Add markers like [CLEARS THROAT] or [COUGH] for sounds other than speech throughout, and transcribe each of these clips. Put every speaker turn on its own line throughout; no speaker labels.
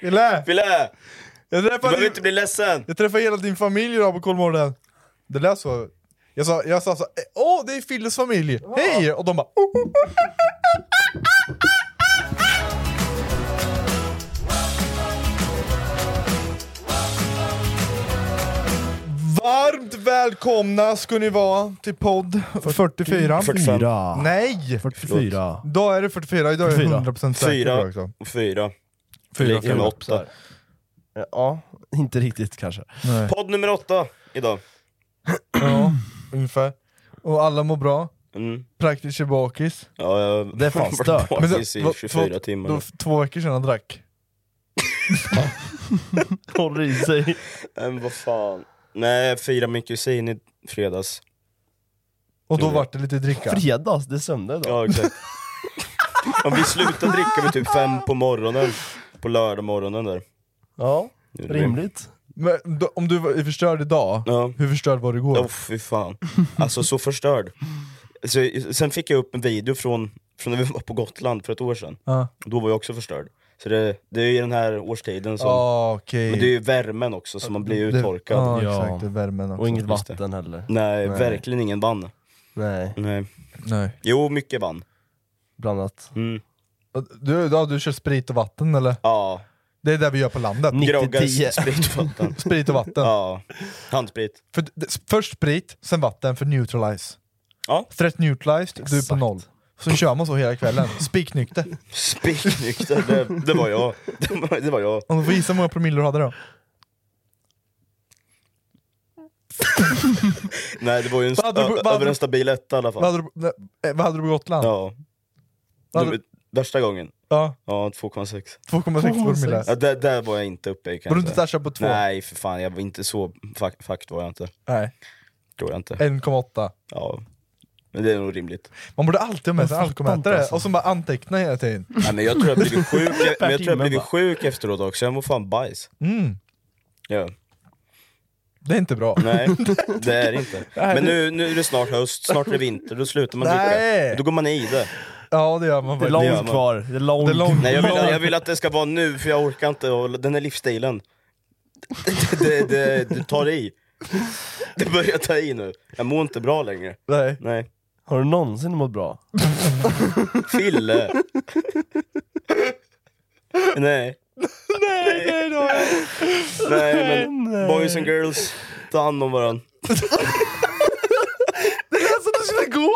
Kille!
Fille!
Jag
Du
träffade,
behöver
din,
inte bli ledsen!
jag träffade hela din familj idag på Kolmården. Det lät så. Jag sa, jag sa så, eh, åh det är Filles familj, hej! Och de bara, oh, oh, oh. Varmt välkomna ska ni vara till podd 44.
45,
Nej!
44.
Idag är det 44, idag är det
44.
100% säker på det
4
också.
och 4.
Fyra,
Lika med 8.
Ja, [LAUGHS] inte riktigt kanske.
[CLEARS THROAT] Podd nummer 8 idag.
Ja, ungefär. Och alla mår bra.
Mm.
Praktiskt är bakis.
Ja, jag
Det är fan stört.
Men
sen-
i
vad-
24
två-
timmar.
Då, två veckor sedan jag drack.
Håller i sig.
Men vad fan. Nej, jag firade min kusin i fredags.
Och då
Gjorde
vart det lite dricka.
[LAUGHS] Fredags, det är söndag idag.
Ja,
[LAUGHS]
exakt. ja, vi slutade dricka vid typ fem på morgonen. På lördag morgonen där.
Ja,
Gjorde vi.
rimligt.
Men då, om du var förstörd idag,
Ja.
hur förstörd var du igår?
Åh fy fan. Alltså så förstörd. Så, sen fick jag upp en video från, från när vi var på Gotland för ett år sedan.
Ja.
Då var jag också förstörd. Så det, det är ju den här årstiden som...
Ah, okej.
Men det är ju värmen också, så man blir ju
Det-
uttorkad.
Ja,
Ja.
exakt. Det är värmen också.
Och inget
just det.
vatten heller.
Nej, verkligen ingen vann.
Nej,
Nej.
Nej.
Jo, mycket vann.
blandat.
Mm.
Du, ja, du kör sprit och vatten eller?
Ja,
Det är det vi gör på landet.
Ni-
groggar,
90-10.
sprit
[LAUGHS]
och vatten.
Sprit och vatten.
Mm. [LAUGHS] Ja, handsprit.
För, d- först sprit, sen vatten för neutralize.
Ja.
Threat neutralized, du är på
Exakt.
noll. Så kör man så hela
[LAUGHS]
kvällen, spiknykter.
Spiknykter, det, det var jag. [LAUGHS] Det var, det var jag.
Om du får gissa hur många promille du hade då?
Nej, det var ju en,
Vad hade du-
ö-
vad hade
över
du-
en stabil etta i alla
Vad
fall.
hade, du, nej, vad hade du på Gotland?
Ja.
Vad
Det-
hade-
Värsta gången.
Ja,
Ja, 2,6.
2,6 promille.
Ja, där, där var jag inte uppe i
Var
kan
du
jag
inte
säga.
touchad på 2?
Nej, för fan. Jag var inte så... Fakt, fakt var jag inte.
Nej.
Tror jag
Eh.
inte.
1,8.
Ja. Men det är nog rimligt.
Man borde alltid ha med sig
Jag fattar
alkoholmätare,
inte, alltså.
och så bara anteckna hela tiden.
Nej, men jag tror jag blivit sjuk, jag, men jag tror jag
timme,
blivit
va?
sjuk efteråt också. Jag mår fan bajs.
Mm,
Ja.
det är inte bra.
Nej, det är det inte. Men nu, nu är det snart höst, snart är det vinter, då slutar man
Nej.
dricka. Då går man i det.
Ja det gör man
Det är
faktiskt.
Det gör
långt
man.
kvar. Det är långt.
Det är långt.
Nej, jag vill, jag vill att det ska vara nu, för jag orkar inte. Och den här livsstilen. [LAUGHS] Det, det, det, det tar i. Det börjar ta i nu. Jag mår inte bra längre.
Nej.
Nej.
Har du någonsin mått bra?
[LAUGHS]
Fille! Nej.
nej, nej, nej.
Nej, men boys and girls, ta hand om varandra.
Alltså du skulle gå!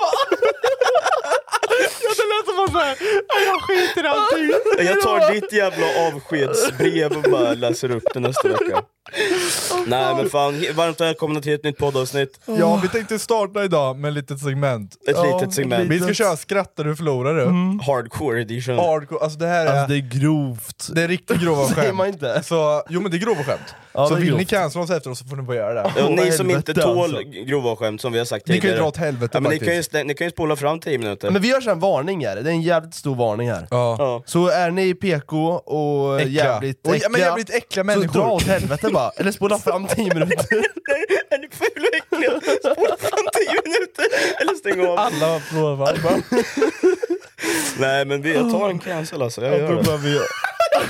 Det lät som att såhär, jag skiter i allting.
Jag tar ditt jävla avskedsbrev och bara läser upp det nästa vecka. Nej men fan, varmt välkomna till ett nytt poddavsnitt.
Ja vi tänkte starta idag med ett litet segment.
Ett
ja,
litet segment.
Vi ska köra skrattar du förlorar du.
Hardcore edition.
Hardcore, Mm. alltså det här är,
Alltså det
det...
är grovt.
är riktigt
[LAUGHS]
grova
Säger man
skämt.
inte.
Så, jo men det är grova skämt.
Ja,
så
det är
vill ni
grovt.
cancella oss efteråt så får ni bara göra det.
Ja, ni som
helvete,
inte tål
alltså.
grova skämt som vi har sagt
Ni kan ju
tidigare.
dra åt helvete
ja, men ni,
faktiskt.
kan ju, stä- ni kan ju spola fram 10 minuter.
Men vi gör så här en varning här, det är en jävligt stor varning här.
Ja.
ja.
Så är ni PK och
Äckliga.
jävligt
Och-
äckliga,
ja, men jävligt äckliga
så
människor.
dra åt helvete bara, eller spola fram 10 minuter.
Är ni fula och äckliga? Spola fram 10 minuter eller stäng av.
[LAUGHS]
Alltså.
Alla provar.
[LAUGHS]
Nej men vi, jag tar en cancel alltså. Jag gör det.
vi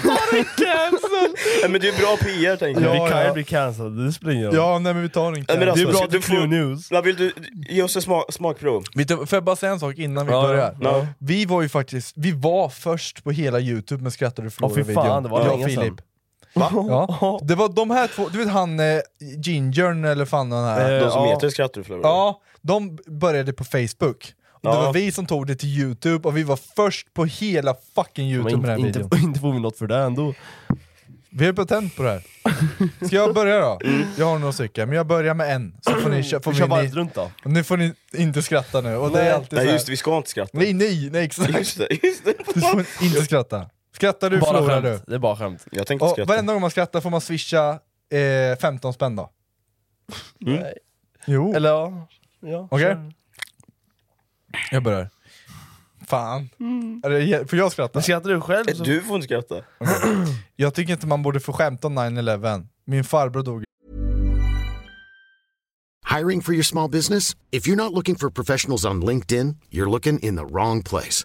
Nej, men du är bra PR tänker jag.
Ja,
kan
ja.
ju bli cancellade, det spelar ingen roll.
Ja nej men vi tar en
men
cancel.
Det är
alltså,
bra att
du
du
får-
får news.
Ja, vill du ge oss ett smak, smakprov?
Vet du, Får jag bara säga en sak innan vi
Ja, ja.
börjar?
Ja.
Vi var ju faktiskt, vi var först på hela youtube med skrattar du förlorar
Åh, fy fan,
videon.
det var
jag
länge
och Filip.
sedan.
Ja. Det var de här två, du vet han eh, Gingern eller fan den här?
Eh,
De som
ja.
heter Skrattar du förlorar.
Ja, de började på Facebook. Och Det
Ja.
var vi som tog det till youtube och vi var först på hela fucking
Men
youtube med den
inte,
här videon.
[LAUGHS] inte, inte får vi något för det ändå.
Vi är patent på det här. Ska jag börja då? Jag har några stycken, men jag börjar med en. Så får ni, kö- får
Mm. Vi kör
vi,
varvet runt då.
ni, nu får ni inte skratta nu, och det
Nej.
är alltid
Nej
så här.
just det, vi ska inte skratta.
Nej nej, nej exakt!
Just det, just det.
Du får inte skratta. Skrattar du
bara
förlorar du.
skämt. Det är bara skämt.
Jag tänkte
Och
skratta.
varenda gång man skrattar får man swisha eh, 15 spänn då.
Nej.
Jo.
Eller Mm. ja... ja
Okej?
sure.
Jag börjar. Fan.
Mm.
Är det- Får jag skratta?
Men skrattar du själv?
Eh, Du får inte skratta.
Jag tycker inte man borde få skämta om 9-11. Min farbror dog
Hiring for your small business? If you're not looking for professionals on LinkedIn, you're looking in the wrong place.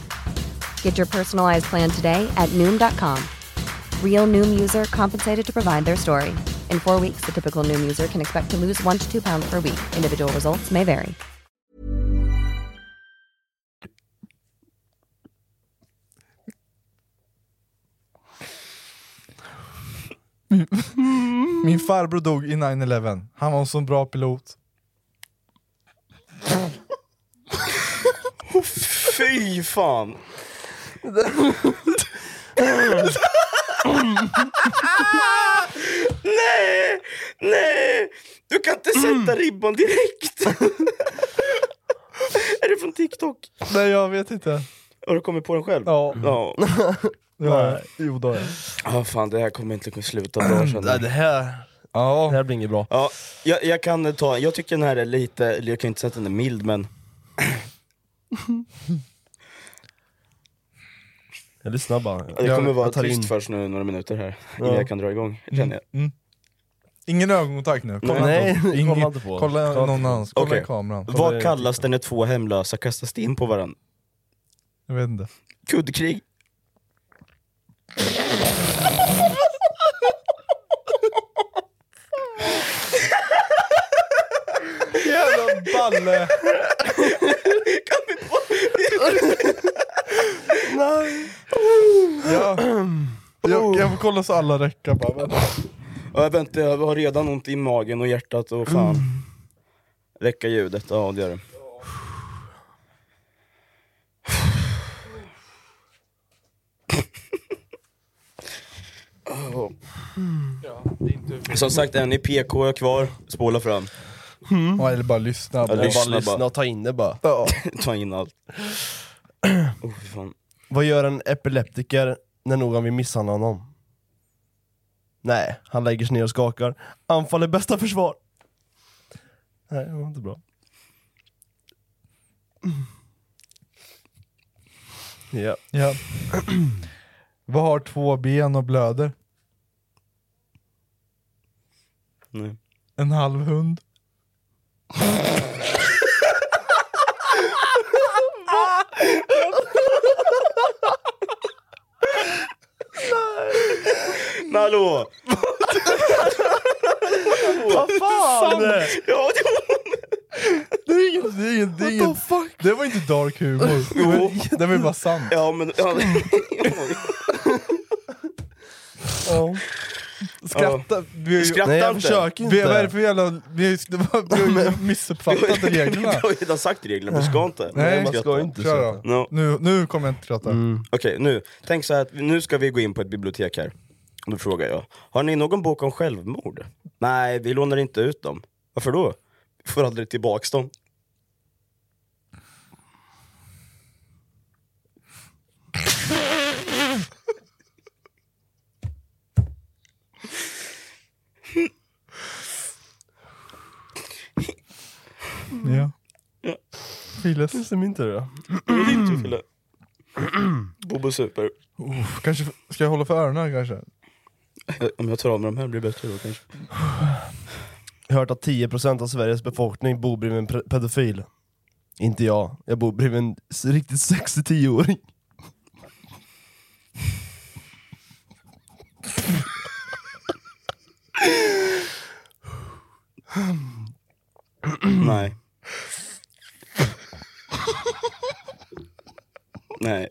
Get your personalized plan today at Noom.com. Real Noom user compensated to provide their story. In four weeks, the typical Noom user can expect to lose one to two pounds per week. Individual results may vary.
Min farbror dog i 9-11. Han var en sån bra pilot.
Fy fan! nej! Nej! Du kan inte sätta ribban direkt! är det från TikTok?
Nej jag vet inte.
Har du kommit på den själv?
Ja,
Ja,
ja. jo då. ja.
Ah, fan det här kommer inte kunna sluta bra känner
Mm. Nej,
jag.
det här... Det
Ja.
här blir inget bra.
Ja, jag, jag kan ta, jag tycker den här är lite, eller jag kan inte säga att den är mild men
Jag lyssnar bara.
det
Jag-
kommer vara
jag tar in.
tyst först nu några minuter här innan jag kan dra igång känner jag.
Ingen ögonkontakt nu. Kolla
Nej,
inte på-
kolla
Ingen-
inte på.
Kolla
Kolla
någon
inte på.
annans. Kolla
Okej.
i kameran.
Vad kallas det när två hemlösa kastar sten på varandra?
Jag vet inte.
Kuddkrig?
Jävla balle! Ja. Jag, jag får kolla så alla räcker bara. vänta.
Ja, vänta, jag har redan ont i magen och hjärtat och fan. Räcka ljudet, ja det gör det. Åh. Som sagt, en i PK är kvar, spola fram.
Ja, Eller bara lyssna.
Ja,
Jag
lyssna
bara lyssna
bara.
och ta in det bara.
Ja.
[LAUGHS] Ta in allt. Oh, fy fan.
Vad gör en epileptiker när någon vill misshandla honom? Nej, han lägger sig ner och skakar. Anfall är bästa försvar. Nej, det var inte bra. Mm. Ja.
Ja. Vad har två ben och blöder?
Nej.
En halv hund.
Men hallå!
Fan!
Ja, det
Det är inget, det är inget, det är inget. Det var inte dark [LAUGHS] humor.
Jo.
det var ju bara sant.
Ja men... Ja, [LAUGHS]
Skratta. Vi har ju-
Skratta
Nej, jag
inte.
försöker
Vi, vad är det
inte.
för jävla... Vi, har ju- det var,
[LAUGHS]
vi har ju missuppfattat reglerna.
[LAUGHS] Jag har ju redan sagt reglerna, du ska inte.
Nej,
man ska inte Mm.
Kör
skratta.
då.
No.
Nu, nu kommer jag inte skratta.
Okej, nu. Tänk så här att nu ska vi gå in på ett bibliotek här. Då frågar jag, har ni någon bok om självmord? Nej, vi lånar inte ut dem. Varför då? Vi får aldrig tillbaks dem.
Files.
Just min tur då.
Är det din tur Fille?
Mm.
Bobo Super.
Kanske, ska jag hålla för öronen kanske?
Eh, Om jag tar av mig de här blir det bättre då kanske.
Jag har hört att 10% av Sveriges befolkning bor bredvid en pre- pedofil. Inte jag. Jag bor bredvid en s- riktigt sexig 10-åring.
Nej. Nej.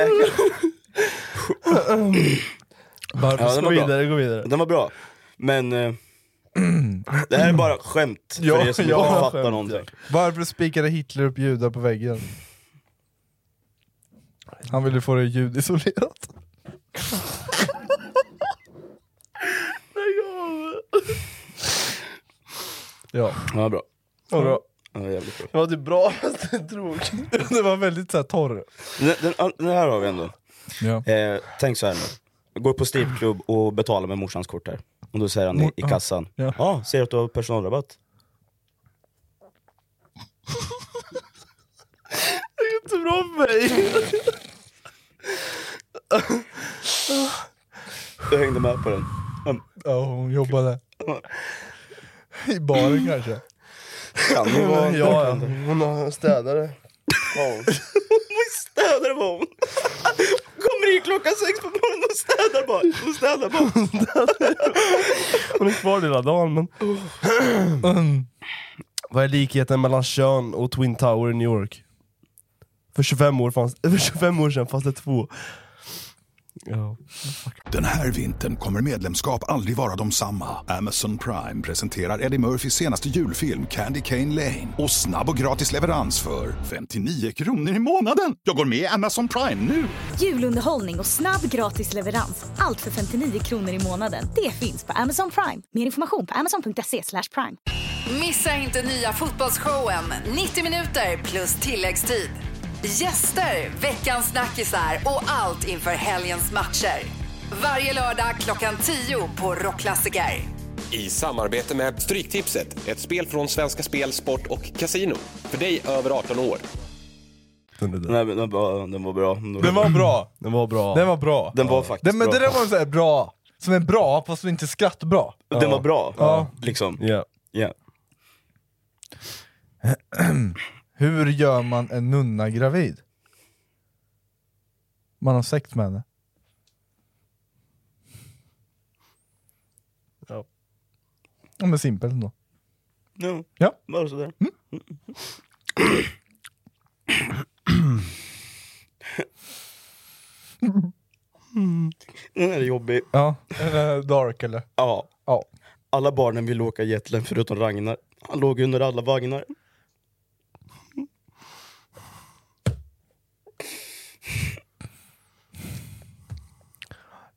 Äh,
Varför
Ja, den
ska
var
vi
bra.
vidare, gå vidare?
Den var bra. Men eh, det här är bara skämt för
Ja,
er som
ja,
inte fattar
skämt, ja.
någonting.
Varför spikade Hitler upp judar på väggen? Han ville få det
[LAUGHS]
ljudisolerat. Ja,
Ja, bra.
och då,
Ja, jävligt bra.
Det var typ bra [LAUGHS] fast det är
[LAUGHS]
tråkigt.
det var väldigt såhär torr.
Den, den, den här har vi ändå.
Ja.
Eh, tänk så här nu. Jag går på stripklubb och betalar med morsans kort här. Och då säger han i, i kassan. Ja,
Ja.
ah, ser att du har personalrabatt.
Det är bra för mig.
Jag hängde med på den. Mm,
ja, hon jobbade. I baren kanske.
Kan det vara?
[LAUGHS] Ja, ja. Hon har en städare.
Hon städar var hon. Kommer in klockan sex på morgonen och städar bara. Hon städar bara.
Hon är kvar hela dagen men... Oh. Mm. Vad är likheten mellan kön och Twin Tower i New York? För 25 år, fanns, [LAUGHS] för 25 år sedan fanns det två. Ja.
Den här vintern kommer medlemskap aldrig vara de samma. Amazon Prime presenterar Eddie Murphys senaste julfilm Candy Cane Lane. Och snabb och gratis leverans för 59 kronor i månaden. Jag går med i Amazon Prime nu!
Julunderhållning och snabb gratis leverans. Allt för 59 kronor i månaden. Det finns på Amazon Prime. Mer information på amazon.se slash prime.
Missa inte nya fotbollsshowen 90 minuter plus tilläggstid. Gäster, veckans snackisar och allt inför helgens matcher. Varje lördag klockan 10 på Rockklassiker.
I samarbete med Stryktipset, ett spel från Svenska Spel, Sport och Casino. För dig över 18 år.
Nej, men den, var, den var bra. Den var,
Den var bra.
Den var bra.
Den var bra.
den var faktiskt
Den, men
bra.
det där var så här bra, som är bra fast inte skrattbra.
Den var bra.
Ja.
Liksom.
Ja.
Ja.
Hur gör man en nunna gravid? Man har sex med henne.
Ja.
Ja men simpelt ändå.
Ja.
Ja.
Bara sådär. Mm. Den här är jobbig.
Ja. Eller dark eller?
Ja.
Ja.
Alla barnen vill åka jetline förutom Ragnar. Han låg under alla vagnar.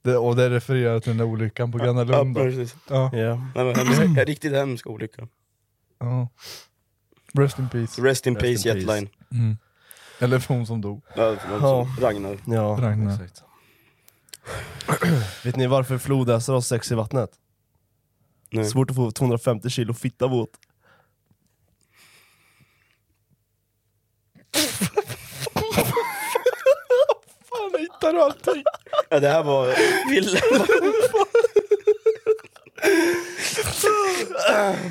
Det, och det refererar till den där olyckan på Gröna Lund.
Ja,
då.
precis.
Ja.
Ja.
Nej, men, en, en riktigt hemsk olycka.
ja. Rest in peace.
Rest in
Rest
peace
in peace.
jetline.
Eller för hon som dog.
Ja, förlåt,
Ja.
Ragnar.
Ja,
Ragnar.
exakt. Vet ni varför flodhästar har sex i vattnet?
Nej.
Svårt att få 250 kilo fitta våt. Fan, hittar du allting?
Ja, det här var... Ville.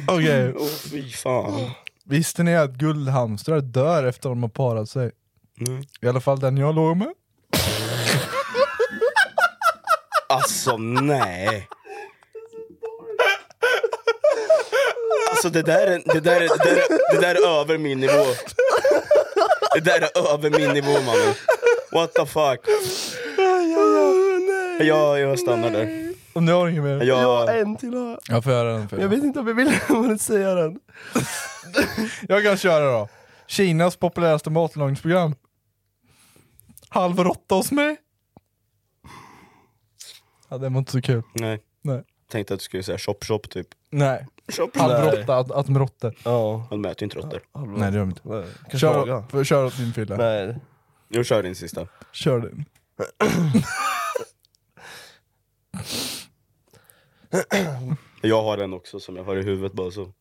[LAUGHS]
Okej,
Åh fy fan.
visste ni att guldhamstrar dör efter de har parat sig?
Nej.
I alla fall den jag låg med.
Alltså nej. Alltså det där, är, det, där är, det, där är, det där är över min nivå. Det där är över min nivå mannen. What the fuck. Jag, jag stannar där.
Och nu har du inget mer?
Jag,
eh.
En till har jag.
Jag får göra den för
Jag vet inte om jag vill [LAUGHS] jag vill säga den.
Jag kan köra då. Kinas populäraste matlagningsprogram. Halv råtta hos mig. Ja, det var inte så kul.
nej.
Nej.
Tänkte att du skulle säga shop shop typ.
Nej.
Shop, shop.
Halv
Nej.
råtta, att, att de råttor.
Ja.
Han mäter ju inte råttor.
Nej det gör de inte.
Nej, Kanske
Kör,
laga.
för- kör åt din Fille.
Nej.
Jag kör din sista.
Kör din.
Jag har en också som jag har i huvudet bara så.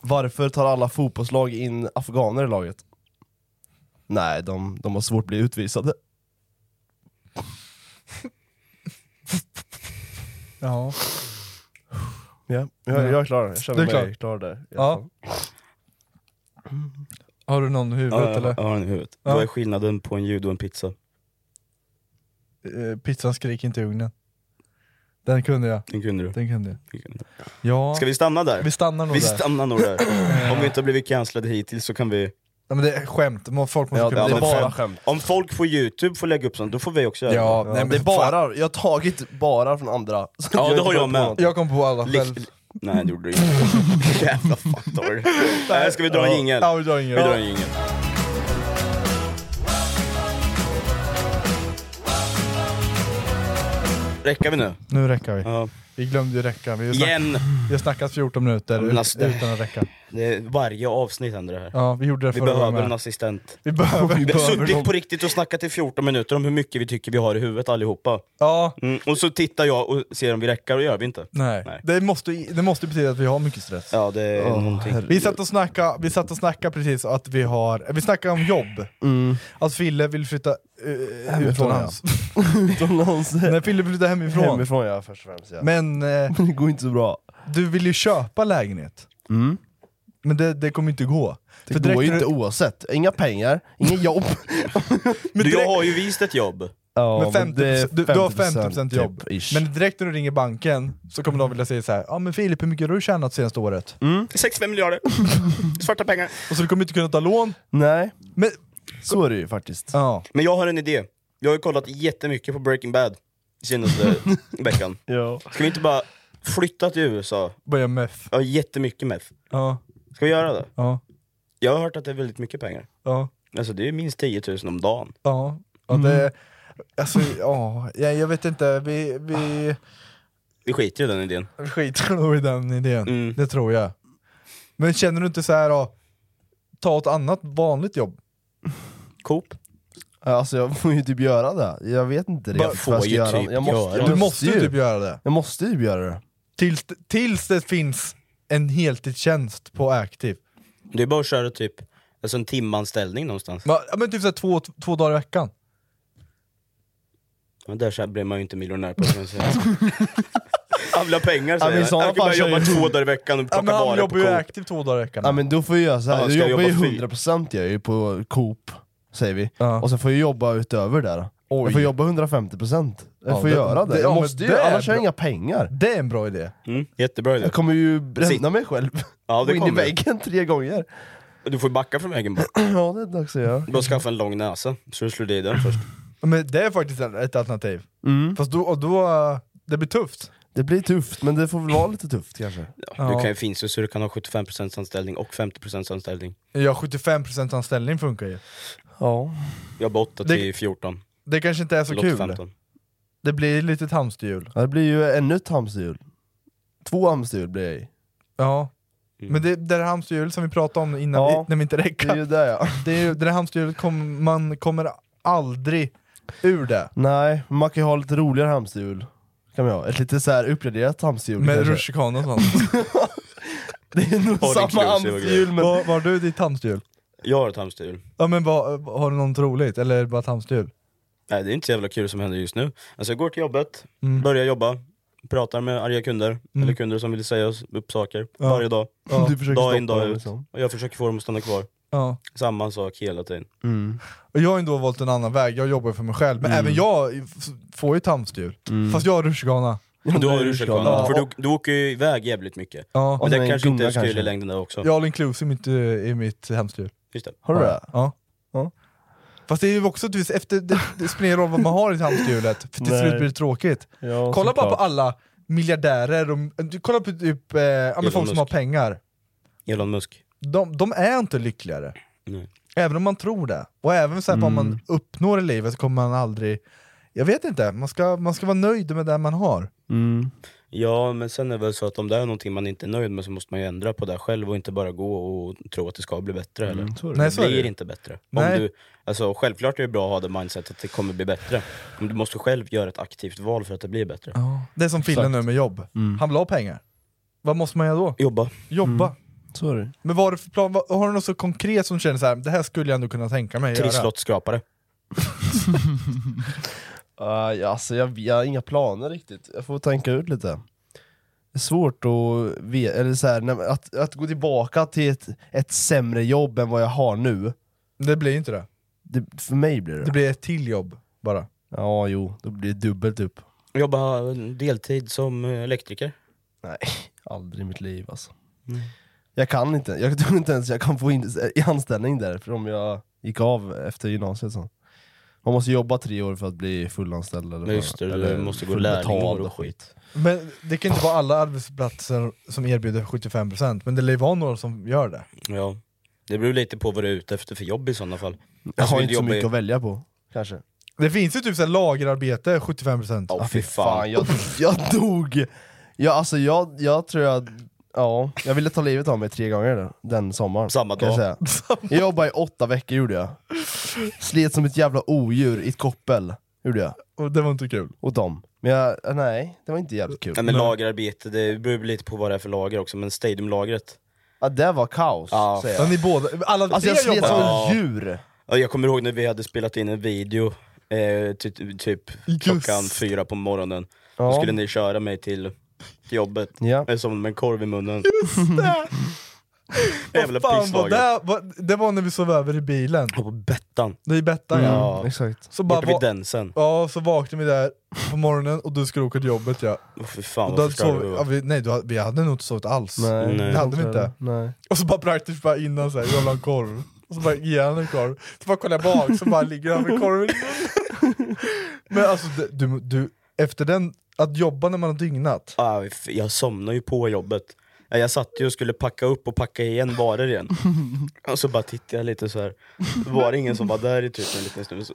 Varför tar alla fotbollslag in afghaner i laget? Nej, de, de har svårt att bli utvisade.
Ja.
Ja, jag, jag är klar. Jag
Du
känner
är
mig
klar.
klar, där.
ja. Har du någon i huvudet
Ja,
eller?
jag har en i huvudet.
Ja.
Vad är skillnaden på en judo och en pizza?
Eh, Pizzan skrik inte i ugnen. Den kunde jag.
Den kunde du.
Den kunde jag.
Den kunde du.
Ja,
Ska vi stanna där?
vi stannar nog
Vi
där.
stannar nog där. Om vi inte har blivit cancellade hittills så kan vi...
Ja, men det är skämt, Må- folk måste
Ja, det
kunna
är
men
bara
fan.
skämt.
Om folk på youtube får lägga upp sånt, då får vi också göra
Ja,
det.
nej, men
det är
fan.
bara, jag har tagit bara från andra. Så
Ja, det
inte
har jag
kommit på
med.
något.
Jag kom på alla
Lik-
själv.
Nej det gjorde du inte. [LAUGHS] Jävla fattar Nej, Ska vi dra en jingel?
Ja, vi drar
Vi drar
ingen.
en jingel. Räcker vi nu?
Nu räcker vi.
Ja.
Vi glömde ju räcka. Vi har snack-
Igen!
vi har snackat 14 minuter
men
ut-
alltså det-
utan att räcka.
Det är varje avsnitt händer det här.
Ja, vi gjorde det
Vi
förra gången
behöver en
med.
assistent.
Vi behöver, vi
Vi har
behöver
suttit på
någon.
riktigt och snackat i 14 minuter om hur mycket vi tycker vi har i huvudet allihopa.
Ja,
Mm. Och så tittar jag och ser om vi räcker, och gör vi inte.
nej.
Nej.
Det måste, det måste betyda att vi har mycket stress.
Ja, det är någonting.
Vi satt, och snacka, vi satt och snackade precis att vi har, vi snackade om jobb.
Mm.
Att Fille vill flytta uh, utomlands.
Utomlands.
Nej, Fille vill flytta hemifrån.
Hemifrån ja, först och främst ja.
Men eh,
Men det går inte så bra.
du vill ju köpa lägenhet. Men det, det kommer inte gå.
Mm. Det
För direkt
går ju
när
inte
du-
oavsett. Inga pengar, inga jobb.
du, jag
direkt-
har ju vist ett jobb.
[LAUGHS] Ja,
Men 50,
det är
du, du har 50%
typ,
jobb.
ish.
Men direkt när du ringer banken så kommer de vilja säga så här, ja men Filip hur mycket har du tjänat senaste året?
Mm.
65 miljarder. Svarta pengar.
Och så vi kommer inte kunna ta lån.
Nej,
Men,
så är det ju faktiskt.
ja.
Men jag har en idé. Jag har ju kollat jättemycket på Breaking Bad senaste veckan.
Ja.
Ska vi inte bara flytta till USA?
Börja med F.
Jag har jättemycket meth.
Ja,
Ska vi göra det?
ja,
Jag har hört att det är väldigt mycket pengar.
ja.
Alltså det är minst 10 000 om dagen.
Ja, ja
Mm.
det... Alltså, ja, jag, jag vet inte, vi, vi
Vi skiter ju i den idén.
vi skiter nog i den idén.
Mm.
Det tror jag. Men känner du inte så här ja, ta ett annat vanligt jobb?
Coop?
Alltså jag får ju typ göra det. Jag vet inte riktigt
får
vad jag
ju
ska göra.
typ
jag måste,
göra
jag
det.
Du måste ju typ göra det.
Jag måste ju typ göra det.
Tills, tills det finns en heltidstjänst på Active.
Det är bara att köra typ alltså en timanställning någonstans.
Men, ja, men typ så här två, två dagar i veckan.
Men där så här blir man ju inte miljonär på det sättet.
[LAUGHS]
Han vill ha pengar
Ja, men i
säger han.
sådana
Han kommer
fall så
jobba
är det-
två dagar i veckan och
Ja,
plocka
men han
varor på
jobbar ju
Coop.
Active två dagar i veckan.
Ja men då får jag göra såhär,
Ja,
jag
ska jag
jobbar ju
jobba fy-
100% jag är ju på Coop, säger vi.
Ja.
Och sen får jag jobba utöver där.
Oj.
Jag får jobba 150%. Jag
Ja,
får
det-
göra det.
det- ja,
jag
men
måste ju,
det är
annars har jag
bra.
inga pengar.
Det är en bra idé.
Mm, jättebra idé.
Jag kommer ju bränna
Sitt.
mig själv. [LAUGHS]
Ja, det
Gå in i
kommer.
väggen tre gånger.
Du får ju backa från vägen bara.
Ja det är dags att göra.
Du bara skaffa en lång näsa, så du slår dig i den först.
Ja, Men det är faktiskt ett alternativ.
Mm.
Fast då, och då, det blir tufft.
Det blir tufft, men det får väl vara lite tufft kanske.
Ja. Du kan ju finns ju så du kan ha 75% anställning och 50% anställning.
Ja, 75% anställning funkar ju.
Ja.
Jag har 8
Det-
till 14,
Det kanske inte är så
eller 8
kul.
till 15.
Det blir ett litet hamsterhjul.
Ja, Det blir ju ännu ett hamsterhjul. Två hamsterhjul blir jag i.
Ja. Men det, det där hamsterhjulet som vi pratade om innan
Mm. Ja.
vi, när vi inte
Det är
räcker.
ju det ja.
Det, är ju- det där hamsterhjulet, kom, man kommer aldrig ur det.
Nej, men man kan ju ha lite roligare hamsterhjul. Kan man ha. Ett lite så här uppgraderat hamsterhjul
Med
kanske.
rutschkana och sånt.
Det är nog
All
samma
inclusive och
hamsterhjul men...
Var har du ditt hamsterhjul?
Jag har ett hamsterhjul.
Ja men vad, har du något roligt? Eller är det bara ett hamsterhjul?
Nej det är inte så jävla kul som händer just nu. Alltså jag går till jobbet,
Mm.
börjar jobba, pratar med arga kunder, eller kunder som vill säga oss upp saker, varje dag.
Du Mm. försöker
Dag in,
stoppa
dag
dem,
ut.
liksom.
Och jag försöker få dem att stanna kvar.
Ja.
Samma sak hela tiden.
Och jag har ändå valt en annan väg, jag jobbar för mig själv. Men även jag f- får ju ett hamsterhjul. Fast jag har rutschkana.
Du har
det är
ju
klart.
rutschkana, för du, du åker ju iväg jävligt mycket.
Ja.
Men
Och sen
det
en
kanske inte
gunga
är så kul
kanske.
i längden där också.
Jag har all inclusive i mitt, eh, i mitt hamsterhjul.
Just det.
Har du det?
Ja.
Ja.
Fast det är ju också att du- efter, det, det spelar ingen roll vad man har i hamsterhjulet, för till
Nej.
slut blir det tråkigt.
Ja,
kolla bara på
såklart.
alla miljardärer, och, du, kolla på typ, eh, ja, men
Elon
folk som
Musk.
har pengar.
Elon Musk.
De, de är inte lyckligare.
Nej. Mm.
Även om man tror det. Och även så här, vad man uppnår i
Mm.
livet så kommer man aldrig... Jag vet inte, man ska, man ska vara nöjd med det man har.
Ja, men sen är det väl så att om det är någonting man inte är nöjd med så måste man ju ändra på det själv och inte bara gå och tro att det ska bli bättre. Eller?
det. Nej, så är
det
det
blir
ju.
inte bättre.
Nej.
Om du, alltså, självklart är det bra att ha det mindset att det kommer bli bättre. Men du måste själv göra ett aktivt val för att det blir bättre.
Det är som Fille nu med jobb.
Mm.
Han vill ha pengar. Vad måste man göra då?
Jobba.
Jobba.
Mm.
Så är det.
Men vad är det för plan? Vad- Har du något så konkret som du känner så här, det här skulle jag ändå kunna tänka mig att göra?
Trisslottskrapare.
Uh, ja, alltså, jag, jag har inga planer riktigt. Jag får tänka ut lite. Det är svårt att, ve- eller så här, när, att, att gå tillbaka till ett, ett sämre jobb än vad jag har nu.
Det blir inte det.
Det, för mig blir det.
Det blir ett till jobb bara.
Ja, jo. Då blir det dubbelt upp.
Jobba deltid som eh, elektriker.
Nej, [LAUGHS] aldrig i mitt liv alltså.
Mm.
Jag kan inte, jag tror inte ens jag kan få in, i anställning där för om jag gick av efter gymnasiet så. Man måste jobba tre år för att bli fullanställd eller,
Ja, just det, du
eller
måste gå
fullbetald
lärlingar och skit.
Men det kan inte vara alla arbetsplatser som erbjuder 75% men det lär ju vara några som gör det.
Ja. Det beror lite på vad du är ute efter för jobb i sådana fall.
Jag
Alltså,
har
vill
inte
du
så
jobba i-
mycket att välja på, kanske.
Det finns ju typ så här lagerarbete 75%.
Åh fy fan.
jag, jag dog! Jag, alltså jag, jag tror jag, ja, jag ville ta livet av mig tre gånger där, den sommaren.
Samma
kan jag
dag.
säga.
[LAUGHS]
Jag jobbade i åtta veckor gjorde jag. Slet som ett jävla odjur i ett koppel, gjorde jag.
Och det var inte kul.
Åt dem. Men jag, ah, nej, det var inte jävligt kul.
Nej, men lagerarbete, det beror lite på vad det är för lager också, men stadiumlagret.
Ja, Ah, det var kaos,
Ja.
säger
Men
jag.
ni båda, alla
Alltså jag
tre
slet
[LAUGHS]
som
jobbar
Ja.
ett djur.
Ja, Jag kommer ihåg när vi hade spelat in en video, eh, ty- typ klockan fyra på morgonen. Då
Ja.
skulle ni köra mig till till jobbet,
Ja.
jag som med en korv i munnen. Jävla
Fan, vad
pisslager.
det, vad, det var när vi sov över i bilen.
Och på Bettan,
Det är Bettan ja.
Ja.
Exakt.
Så bara,
borta vid
va,
Densen.
ja, så vaknade vi där på morgonen och du skulle åka till jobbet ja.
Åh, fy
Och
fan
då
vad
hade
förstörd
sov,
vi
ja
var.
vi, nej, du, hade- vi hade nog inte sovit alls.
Nej.
Nej.
Det hade vi inte.
Nej.
Och så bara praktiskt bara innan såhär, jag vill ha en korv. Och så bara ger han en korv. Så bara kollar jag bak, så bara ligger han med korven i munnen. Men alltså det- du, du, efter den, att jobba när man har dygnat.
Ah, fy- jag somnade ju på jobbet. Ja, Jag satt ju och skulle packa upp och packa igen varor
[LAUGHS]
igen. Och så bara tittade jag lite så här. Det var ingen som var där i typ en liten stund. Så...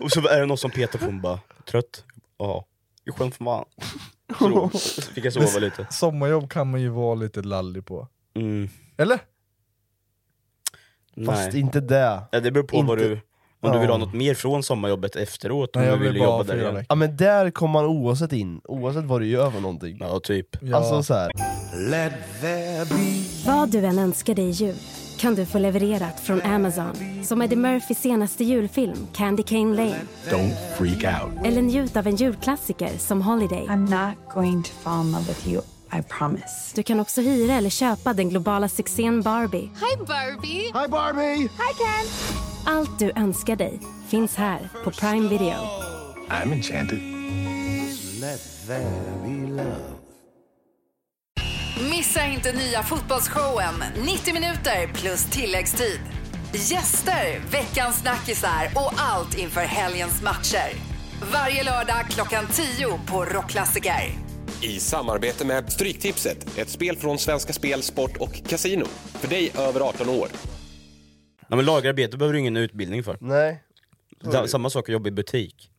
[LAUGHS]
och så är det någon som petar på mig bara, trött? Ja. Jo, Skönt för fan. Så då fick jag sova lite.
Sommarjobb kan man ju vara lite lallig på.
Mm.
Eller?
Fast
Nej.
inte det.
Ja, det beror på vad
inte-
du... Om du vill ha
Ja.
något mer från sommarjobbet efteråt, om
Nej jag
du
blev
vill
bara
jobba där
fyra
igen.
veckor.
Ja men där kom man oavsett in, oavsett vad du gör för någonting.
Ja, typ.
Ja.
Alltså så här.
Vad du än önskar dig i jul kan du få levererat från Amazon. Som Eddie Murphys senaste julfilm Candy Cane Lane.
Don't freak out.
Eller njut av en julklassiker som Holiday.
I'm not going to fall in love with you, I promise.
Du kan också hyra eller köpa den globala succén Barbie.
Hi, Barbie.
Hi, Barbie!
Allt du önskar dig finns här på Prime Video.
I'm enchanted.
Missa inte nya fotbollsshowen, 90 minuter plus tilläggstid. Gäster, veckans snackisar och allt inför helgens matcher. Varje lördag klockan 10 på Rockklassiker.
I samarbete med Stryktipset, ett spel från Svenska Spel, Sport och Casino. För dig över 18 år.
Nej, men lagerarbete behöver du ingen utbildning för.
Nej.
Da- Samma sak att jobba i butik.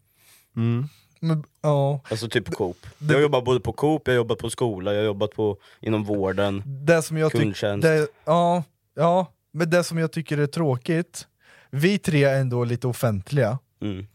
Men, ja.
Alltså typ Coop. Jag jobbar både på Coop, jag har jobbat på skola, jag har jobbat på, inom vården.
Det som jag tycker...
Kundtjänst.
det- Ja, ja, men det som jag tycker är tråkigt, vi tre är ändå lite offentliga.
Mm.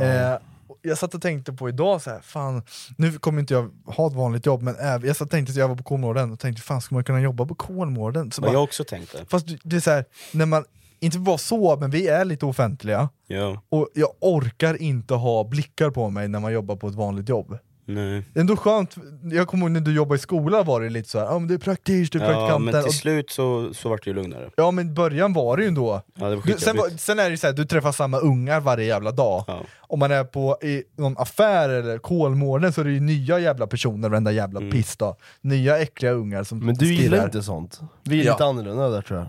Eh, jag satt och tänkte på idag, så här, fan, nu kommer inte jag ha ett vanligt jobb, men äv- jag satt och tänkte, jag var på Kolmården och tänkte, fan ska man kunna jobba på Kolmården? Så
Men
bara,
jag också tänkte.
Fast du- det är så här, när man, inte bara så, men vi är lite offentliga,
Ja,
och jag orkar inte ha blickar på mig när man jobbar på ett vanligt jobb.
nej.
Det är ändå skönt, jag kommer ihåg när du jobbade i skolan var det lite så här, ja men det är praktik, du är
Ja,
praktikanten.
men till
och-
slut så, så vart det ju lugnare.
Ja men i början var det ju ändå.
Ja, det var
du, sen, var,
skitjobbigt.
sen är det ju såhär, du träffar samma ungar varje jävla dag.
Ja.
Om man är på i någon affär eller Kolmården så är det ju nya jävla personer varenda jävla
Mm.
pissdag. Nya äckliga ungar som
Men du
stirrar.
gillar inte sånt. Vi är
Ja.
lite annorlunda där tror jag.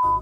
a-"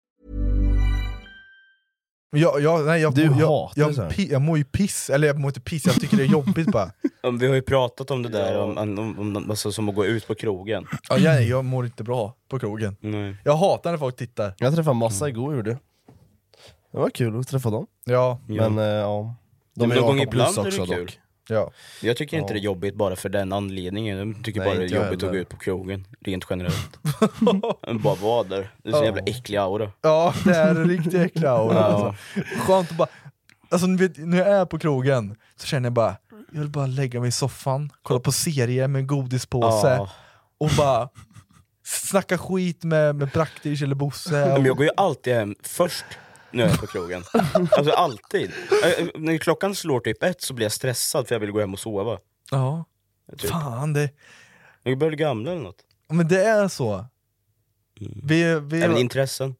Jag, jag, nej, jag,
Du
jag, jag,
hatar
jag,
så här.
pi, jag mår ju piss, eller jag mår inte piss, jag tycker det är jobbigt bara.
Om Vi har ju pratat om det där, om, om, om, alltså, som att gå ut på krogen.
Ja, jag, jag mår inte bra på krogen.
Nej.
Jag hatar när folk tittar.
Jag träffade massa
Mm.
igår gjorde jag. Det var kul att träffa dem.
Ja,
Ja.
Men eh, ja,
Men
de är
någon gång
ju
ibland
plus
är det
också
kul.
dock.
ja.
Jag tycker inte det är jobbigt bara för den anledningen, jag tycker
Nej,
bara det är
inte jag
jobbigt att gå
heller.
ut på krogen, rent generellt. bara vara där, det är så jävla äcklig aura.
ja det är en riktig äcklig aura.
Ja.
Alltså. Skönt att bara... Alltså ni vet, när jag är på krogen så känner jag bara, jag vill bara lägga mig i soffan, kolla på serier med en godispåse
Ja.
och bara snacka skit med, med Praktisch eller Bosse.
[LAUGHS] Men
Och,
jag går ju alltid hem först när jag är på krogen. Alltså alltid. Äh, När klockan slår typ ett så blir jag stressad för jag vill gå hem och sova.
ja.
Typ.
Fan, det,
Jag börjar bli gamla eller något.
men det är så.
Mm.
Vi, vi,
Även intressen.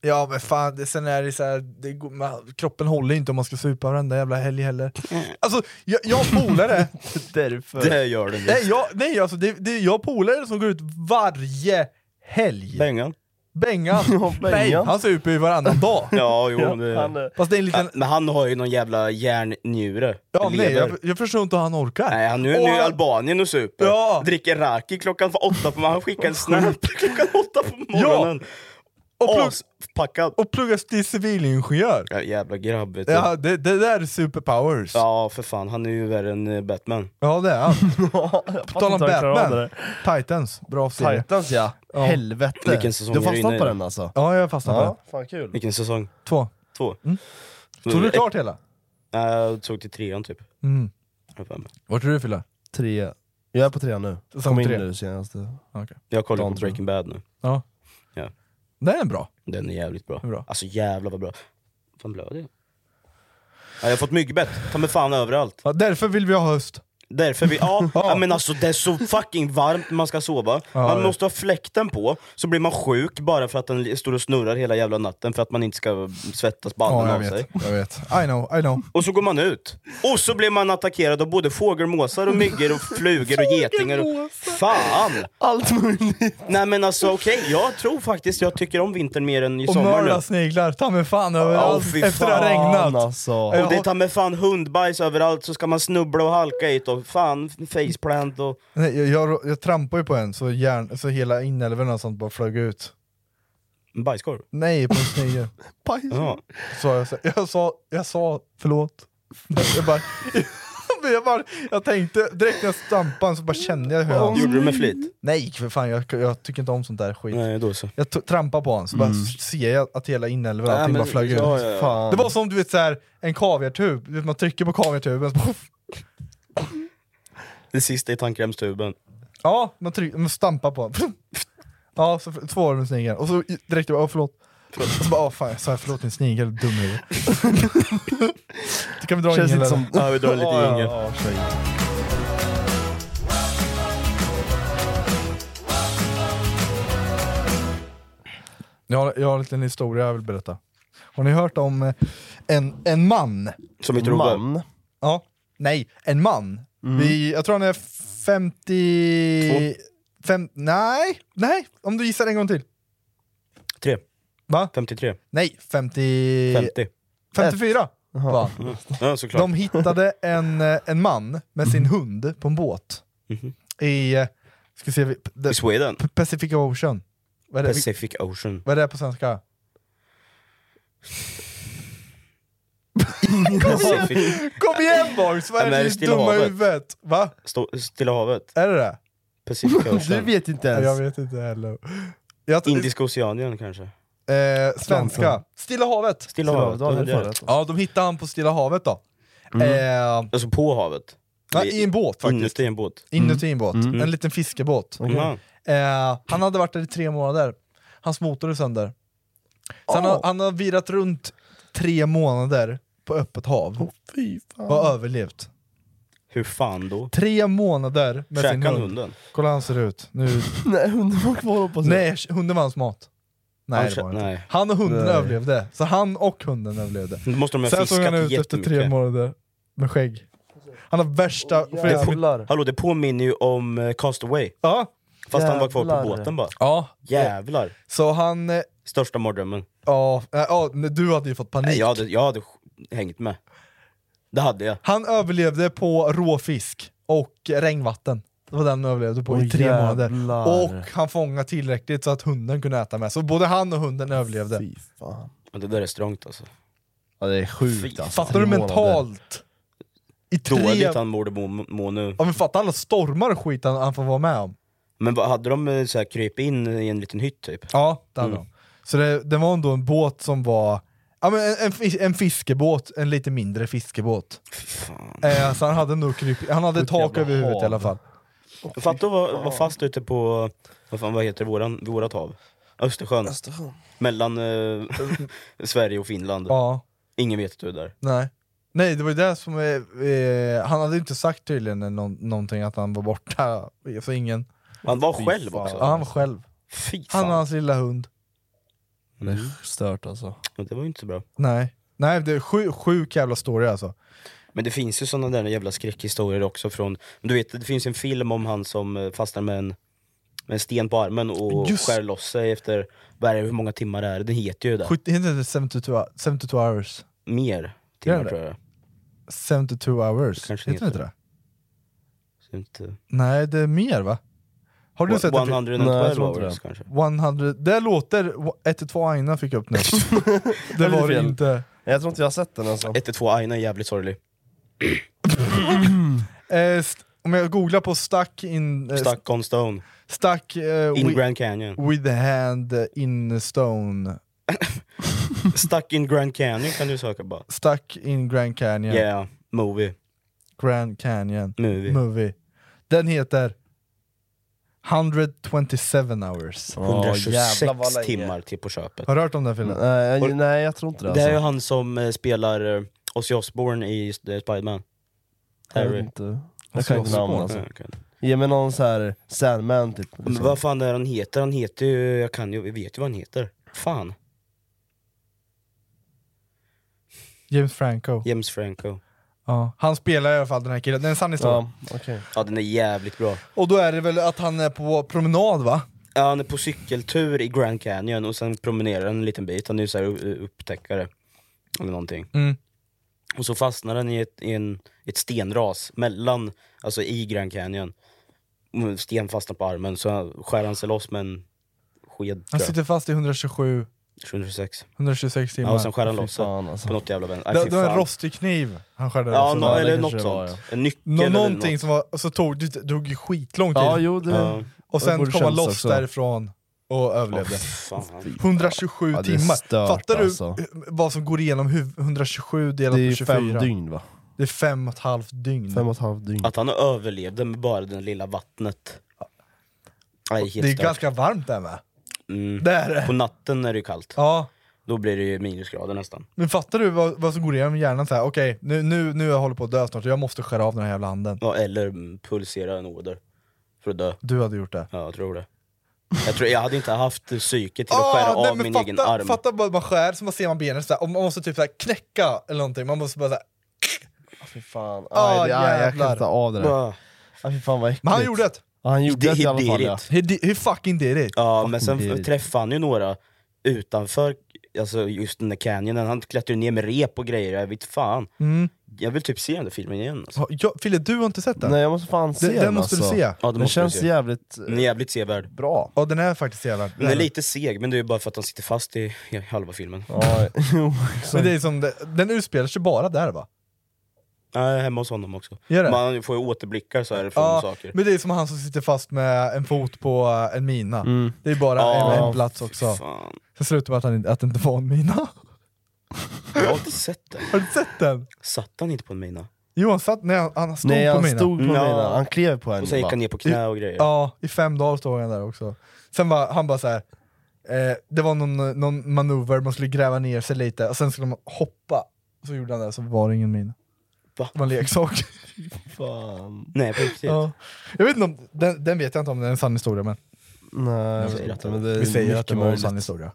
Ja men fan, det, sen är det så här, det, går- man, kroppen håller ju inte om man ska supa varenda jävla helg heller.
Mm.
Alltså, jag, jag har polare,
Därför.
Det gör den
nej,
visst.
jag, nej alltså, det, det, jag har polare som går ut varje helg.
Bengan.
Bengan! Nej,
Bengan.
han super ju varannan dag.
Ja, jo.
Han,
Det...
eh,
Fast det är en
Ja,
liten...
Men han har ju någon jävla järnnjure.
Ja, nej,
Lever.
jag, jag förstår inte hur han orkar.
Nej, han nu är nu i
Och-
Albanien och super.
Ja.
Dricker raki klockan åtta på morgonen. Han skickar en snap klockan åtta på morgonen.
och, plugg,
Aspackad.
och pluggas till civilingenjör.
Ja, jävla grabb vet du.
Ja, det, det där är superpowers. Ja,
Ja, för fan. Han är ju värre än eh, Batman.
det är han. På tal om
inte hur han klarar
Batman,
av
Titans, bra serie.
Titans ja, helvete.
Vilken säsong
du
är du inne
fastnat
i
på
nu?
den alltså?
Ja, jag fastnade på
fan kul.
Vilken säsong?
det. Två.
Två?
Tog du klart hela?
Nej, jag såg till trean typ.
Mm.
Jag har för mig.
Vart är du Fille?
Tre. Jag är på trean nu.
Säsong
Kom in
tre.
nu senaste.
Jag kollar på
Dan, tror jag.
Breaking Bad nu.
Ja.
Ja.
Det är bra.
Den är jävligt bra.
Hur bra?
Alltså jävlar vad bra. Fan blöder jag? Ja, jag har fått myggbett, ta mig fan överallt.
Ja, därför vill vi ha höst.
Därför vi,
[LAUGHS]
ja,
Ja.
ja. men alltså det är så fucking varmt när man ska sova. man
ja.
måste ha fläkten på, så blir man sjuk bara för att den står och snurrar hela jävla natten för att man inte ska svettas banden
Ja, jag
av sig.
vet. Jag vet. I know, I know.
Och så går man ut, och så blir man attackerad av både fågelmåsar och myggor och flugor och getingar och... Fan!
Allt möjligt.
Nej men alltså okej, jag tror faktiskt jag tycker om vintern mer än i
Och
sommar nu.
mörda sniglar, ta mig fan överallt
fy
efter det har
Fan
regnat.
alltså.
Ja.
Och det tar med fan hundbajs överallt så ska man snubbla och halka i det och fan faceplant och...
Nej, jag, jag, jag trampade ju på en så, järn, så hela inälvorna och sånt bara flög ut.
En Bajskorv?
Nej, på en snigel.
Ja.
Så jag, sa- jag, sa, jag sa förlåt. Jag, bara, [LAUGHS] men jag, bara, jag tänkte, direkt när jag stampade så bara kände jag hur han...
Gjorde du med flit?
Nej för fan, jag, jag tycker inte om sånt där skit.
Nej, då så.
Jag to- trampade på honom så bara ser jag att hela inälvorna
Nej,
allting
men-
bara flög ut.
ja, ja, ja.
Fan.
Det var som du vet såhär, en kaviartub, Du vet, man trycker på kaviartuben så bara,
Det sista i tandkrämstuben.
Ja, man, tryck, man stampar på [LAUGHS] den. Ja, så f- två år med snigeln, och så direkt jag bara "Åh, förlåt. Och så bara "Åh, fan jag sa jag förlåt din snigel, dum huvud. Det [LAUGHS] kan vi dra
Känns
in
inte
hela...
som...
Ja, vi drar lite
Ja, ja,
jingel.
ja, kör jingel.
Jag, har, jag har en liten historia jag vill berätta. Har ni hört om eh, en, en man?
Som inte Robert.
Man.
Ja. Nej, en man. Vi, jag tror han är 50... Fem, nej, nej, om du gissar en gång till.
Tre.
Va?
53.
Nej, 50...
50.
54 var han.
Ja, såklart.
De hittade en, eh, en man med sin hund på en båt i eh, ska se, vi-
I
the
Sweden.
P- Pacific Ocean. Vad är, det, vi-
Pacific Ocean.
vad är det på svenska?
Pacific.
Kom igen boys, vad
Ja,
är det
men är
i
det Stilla
dumma
havet?
huvudet? Va?
Stå, Stilla havet.
Är det [LAUGHS] det?
Pacific
Du
Ocean.
vet inte
Nej, Jag vet
ens.
inte heller. Jag,
Indiska Oceanien kanske.
Eh, svenska. Stilla havet.
Stilla havet, ja, det är rätt.
Ja, de hittade han på Stilla havet då.
Mm.
Eh,
Alltså på havet?
nej, I en båt faktiskt.
Inuti en båt?
Inuti en båt. En liten fiskebåt.
Mm.
Eh, han hade varit där i tre månader. Hans motor är sönder. Så han, har, han har virat runt tre månader på öppet hav
Fy fan.
och har överlevt.
Hur fan då?
Tre månader med sin
Käkade
hund.
han hunden?
Kolla hur han ser ut. Nu.
[LAUGHS]
Nej, hunden var kvar [LAUGHS] hoppas jag.
Nej, hunden var hans mat. Nej,
Han
det var
kä-
inte.
nej.
Han och hunden
Nej.
överlevde. Så han och hunden överlevde.
Nu måste de ha
Sen såg han
fiskat
ut efter tre
jättemycket.
månader med skägg. Han har värsta oh,
Hallå det påminner ju om eh, Castaway,
Ja.
fast han var kvar på
Jävlar.
båten bara.
ja.
Jävlar!
Så han... eh,
Största mardrömmen.
Ja, äh, ja, du hade ju fått panik.
Nej, Jag hade, jag hade sj- hängt med. Det hade jag.
Han överlevde på råfisk och regnvatten. Det var den han överlevde på i
Åh,
tre
jävlar.
månader. Och han fångade tillräckligt så att hunden kunde äta med. Så både han och hunden överlevde.
Fy fan.
Men det där är strångt alltså.
Ja, det är sjukt
Fy
alltså.
Fattar du
Tre månader.
mentalt? I tre...
Dåligt han borde må, må nu.
Ja men fatta alla stormar och skit han, han får vara med om.
Men vad, hade de eh, så här, kryp in i en liten hytt typ?
Ja, det hade
Mm.
de. Så det, det var ändå en båt som var... Ja, men en, en, fis- en fiskebåt, en lite mindre fiskebåt.
Fan.
Eh, så han hade nog kryp, han hade
Sjukt
tak
jävla
över huvudet i
hav.
alla fall.
Fatta att vara vara fast ute på, vad, fan, vad heter våran, vårat hav? Östersjön.
Östersjön.
Mellan eh, [LAUGHS] Sverige och Finland.
Ja,
Ingen vet att du är där.
nej. Nej, det var ju det som... eh, Eh, han hade ju inte sagt tydligen någon, någonting att han var borta, så ingen...
Han var själv också.
Ja, han var själv.
Fy fan.
Han Mm. och hans lilla hund.
Det är stört alltså.
Men Det var ju inte så bra.
Nej. Nej, det är sju, sjuk jävla story alltså.
Men det finns ju såna där jävla skräckhistorier också från, du vet det finns en film om han som eh, fastnar med en, med en sten på armen och
Just-
skär loss sig efter, vad är det, hur många timmar är det? Den heter ju det.
70, heter det 72, 72 hours?
Mer timmar
Gör det?
tror jag.
72 hours?
Kanske
heter det inte det?
Så inte...
Nej, det är mer va? Har du sett den?
112
Nej, jag tror inte
hours
det.
kanske.
100, det låter 112 Aina fick upp nu.
[LAUGHS]
det
lite
var det
fel.
inte.
Jag tror inte jag har sett den alltså.
112 Aina är jävligt sorglig.
Eh, st- om jag googlar på stuck in... Eh, stuck
Stuck on stone,
stuck eh,
in
wi-
Grand Canyon.
with the hand in stone.
Stuck in Grand Canyon kan du söka bara.
Stuck in Grand Canyon.
Yeah, movie.
Grand Canyon.
Movie.
Movie. Den heter 127 hours.
126
jävlar vad länge.
timmar till på köpet.
Har du hört om den
Mm.
filmen?
Nej, jag- nej, jag tror inte det
Det är ju
alltså.
han som eh, spelar eh, Ozzy Osbourne i eh, Spiderman.
Jag vet
Harry.
inte. Jag kan inte namn alltså.
Ja, okej.
Ge mig någon så här Sandman typ.
Men vad fan är han heter? Han heter ju, jag kan ju, vi vet ju vad han heter. Fan.
James Franco.
James Franco.
Ja. Han spelar i alla fall den här killen, det är en sann historia.
Ja, okej.
Ja den är jävligt bra.
Och då är det väl att han är på promenad va?
Ja, han är på cykeltur i Grand Canyon och sen promenerar han en liten bit, han är ju såhär eh, upptäckare. Eller någonting.
Mm.
Och så fastnar han i ett, i en, ett stenras mellan, alltså i Grand Canyon. Mm, Sten fastnar på armen, så skär han sig loss med en sked
Han
tror jag.
sitter fast i 127,
126.
126 timmar.
Ja, och sen skär han
Fy
loss sig
fan alltså.
på något jävla vän. Äh,
det, alltså, det var en rostig kniv han skärde
Ja,
loss.
nå-
det
eller
kanske
något
det var,
sånt. En nyckel
Nå-
eller
någonting
något.
som var, så tog, det drog ju skitlång tid.
Ja, jo det...
Ja.
och
det
sen
borde
kom han
kännas
loss
också.
därifrån och överlevde.
Fan.
127
Ja, det är
timmar.
stört,
Fattar du
alltså.
vad som går igenom huv- 127 delat
Det
på
är
24?
fem dygn va?
Det är fem och ett halvt dygn.
Fem och ett halvt dygn.
Att han överlevde med bara det lilla vattnet. Nej, helt
det är
stört.
ganska varmt där med.
Mm.
Det är
På
det.
natten är det ju kallt,
Ja.
då blir det ju minusgrader nästan.
Men fattar du vad, vad som går igenom hjärnan? Så här, Okej, nu, nu, nu jag håller på att dö snart, jag måste skära av den här jävla handen.
Ja, eller mm, pulsera en åder för att dö.
Du hade gjort det.
Ja, jag tror det. Jag, tror, jag hade inte haft psyke till att skära
Ah, nej,
av
men
min
fatta,
egen arm.
Fatta bara att man skär, så man ser man benet såhär, och man måste typ såhär knäcka eller någonting, man måste bara såhär,
Fy fan.
Ah,
Aj, det, aj, jag
jävlar.
kan inte ta av det där.
Bara- Ah,
Aj, fy fan vad äckligt.
Men
Typ.
han gjorde det!
Ja, han gjorde det i alla fall ja.
Direkt.
He, di- he fucking did it!
Ja, men sen
Fucking direkt.
träffade han ju några utanför alltså just den där canyonen. Han klättrade ner med rep och grejer, jag vet fan.
Mm.
Jag vill typ se den där filmen igen. Alltså.
Ha- Ja, Fille, du har inte sett den?
Nej jag måste fan se
den, den måste
alltså.
du se!
Ja, det
Den
måste vi
känns
se.
jävligt eh,
Den är jävligt sevärd.
bra.
Ja den är faktiskt jävla...
Den är lite seg, men det är ju bara för att han sitter fast i i halva filmen.
[LAUGHS]
Ja, jo,
Men
exakt.
det är som, det- den utspelar sig bara där va?
Ja, jag är hemma hos honom också.
Gör det?
Man får ju återblickar så här från
Ja,
saker.
men det är som han som sitter fast med en fot på eh, en mina.
Mm.
Det är bara en,
Ja,
en plats också.
fy Fan.
Sen slutar med att, han, inte- att det inte var en mina. [LAUGHS]
Jag har inte sett den.
Har du sett den?
Satt han inte på en mina?
Johan satt, nej han, han stod
Nej
på
han
mina.
stod på
Ja.
mina, han klev på henne
Och sen gick
bara.
han ner på knä och grejer.
Ja, i fem dagar stod han där också. Sen var han bara så här. Eh, det var någon, någon manöver, man skulle gräva ner sig lite, och sen skulle man hoppa. Så gjorde han det, så var det ingen mina.
Va?
Det var en leksak.
Fan.
Nej på riktigt.
Ja. Jag vet inte om, den, den vet jag inte om det är en sann historia, men
Nej jag
säger
vet
att
inte
det-
men det är
vi säger att det
mycket
var en
möjligt.
sann historia.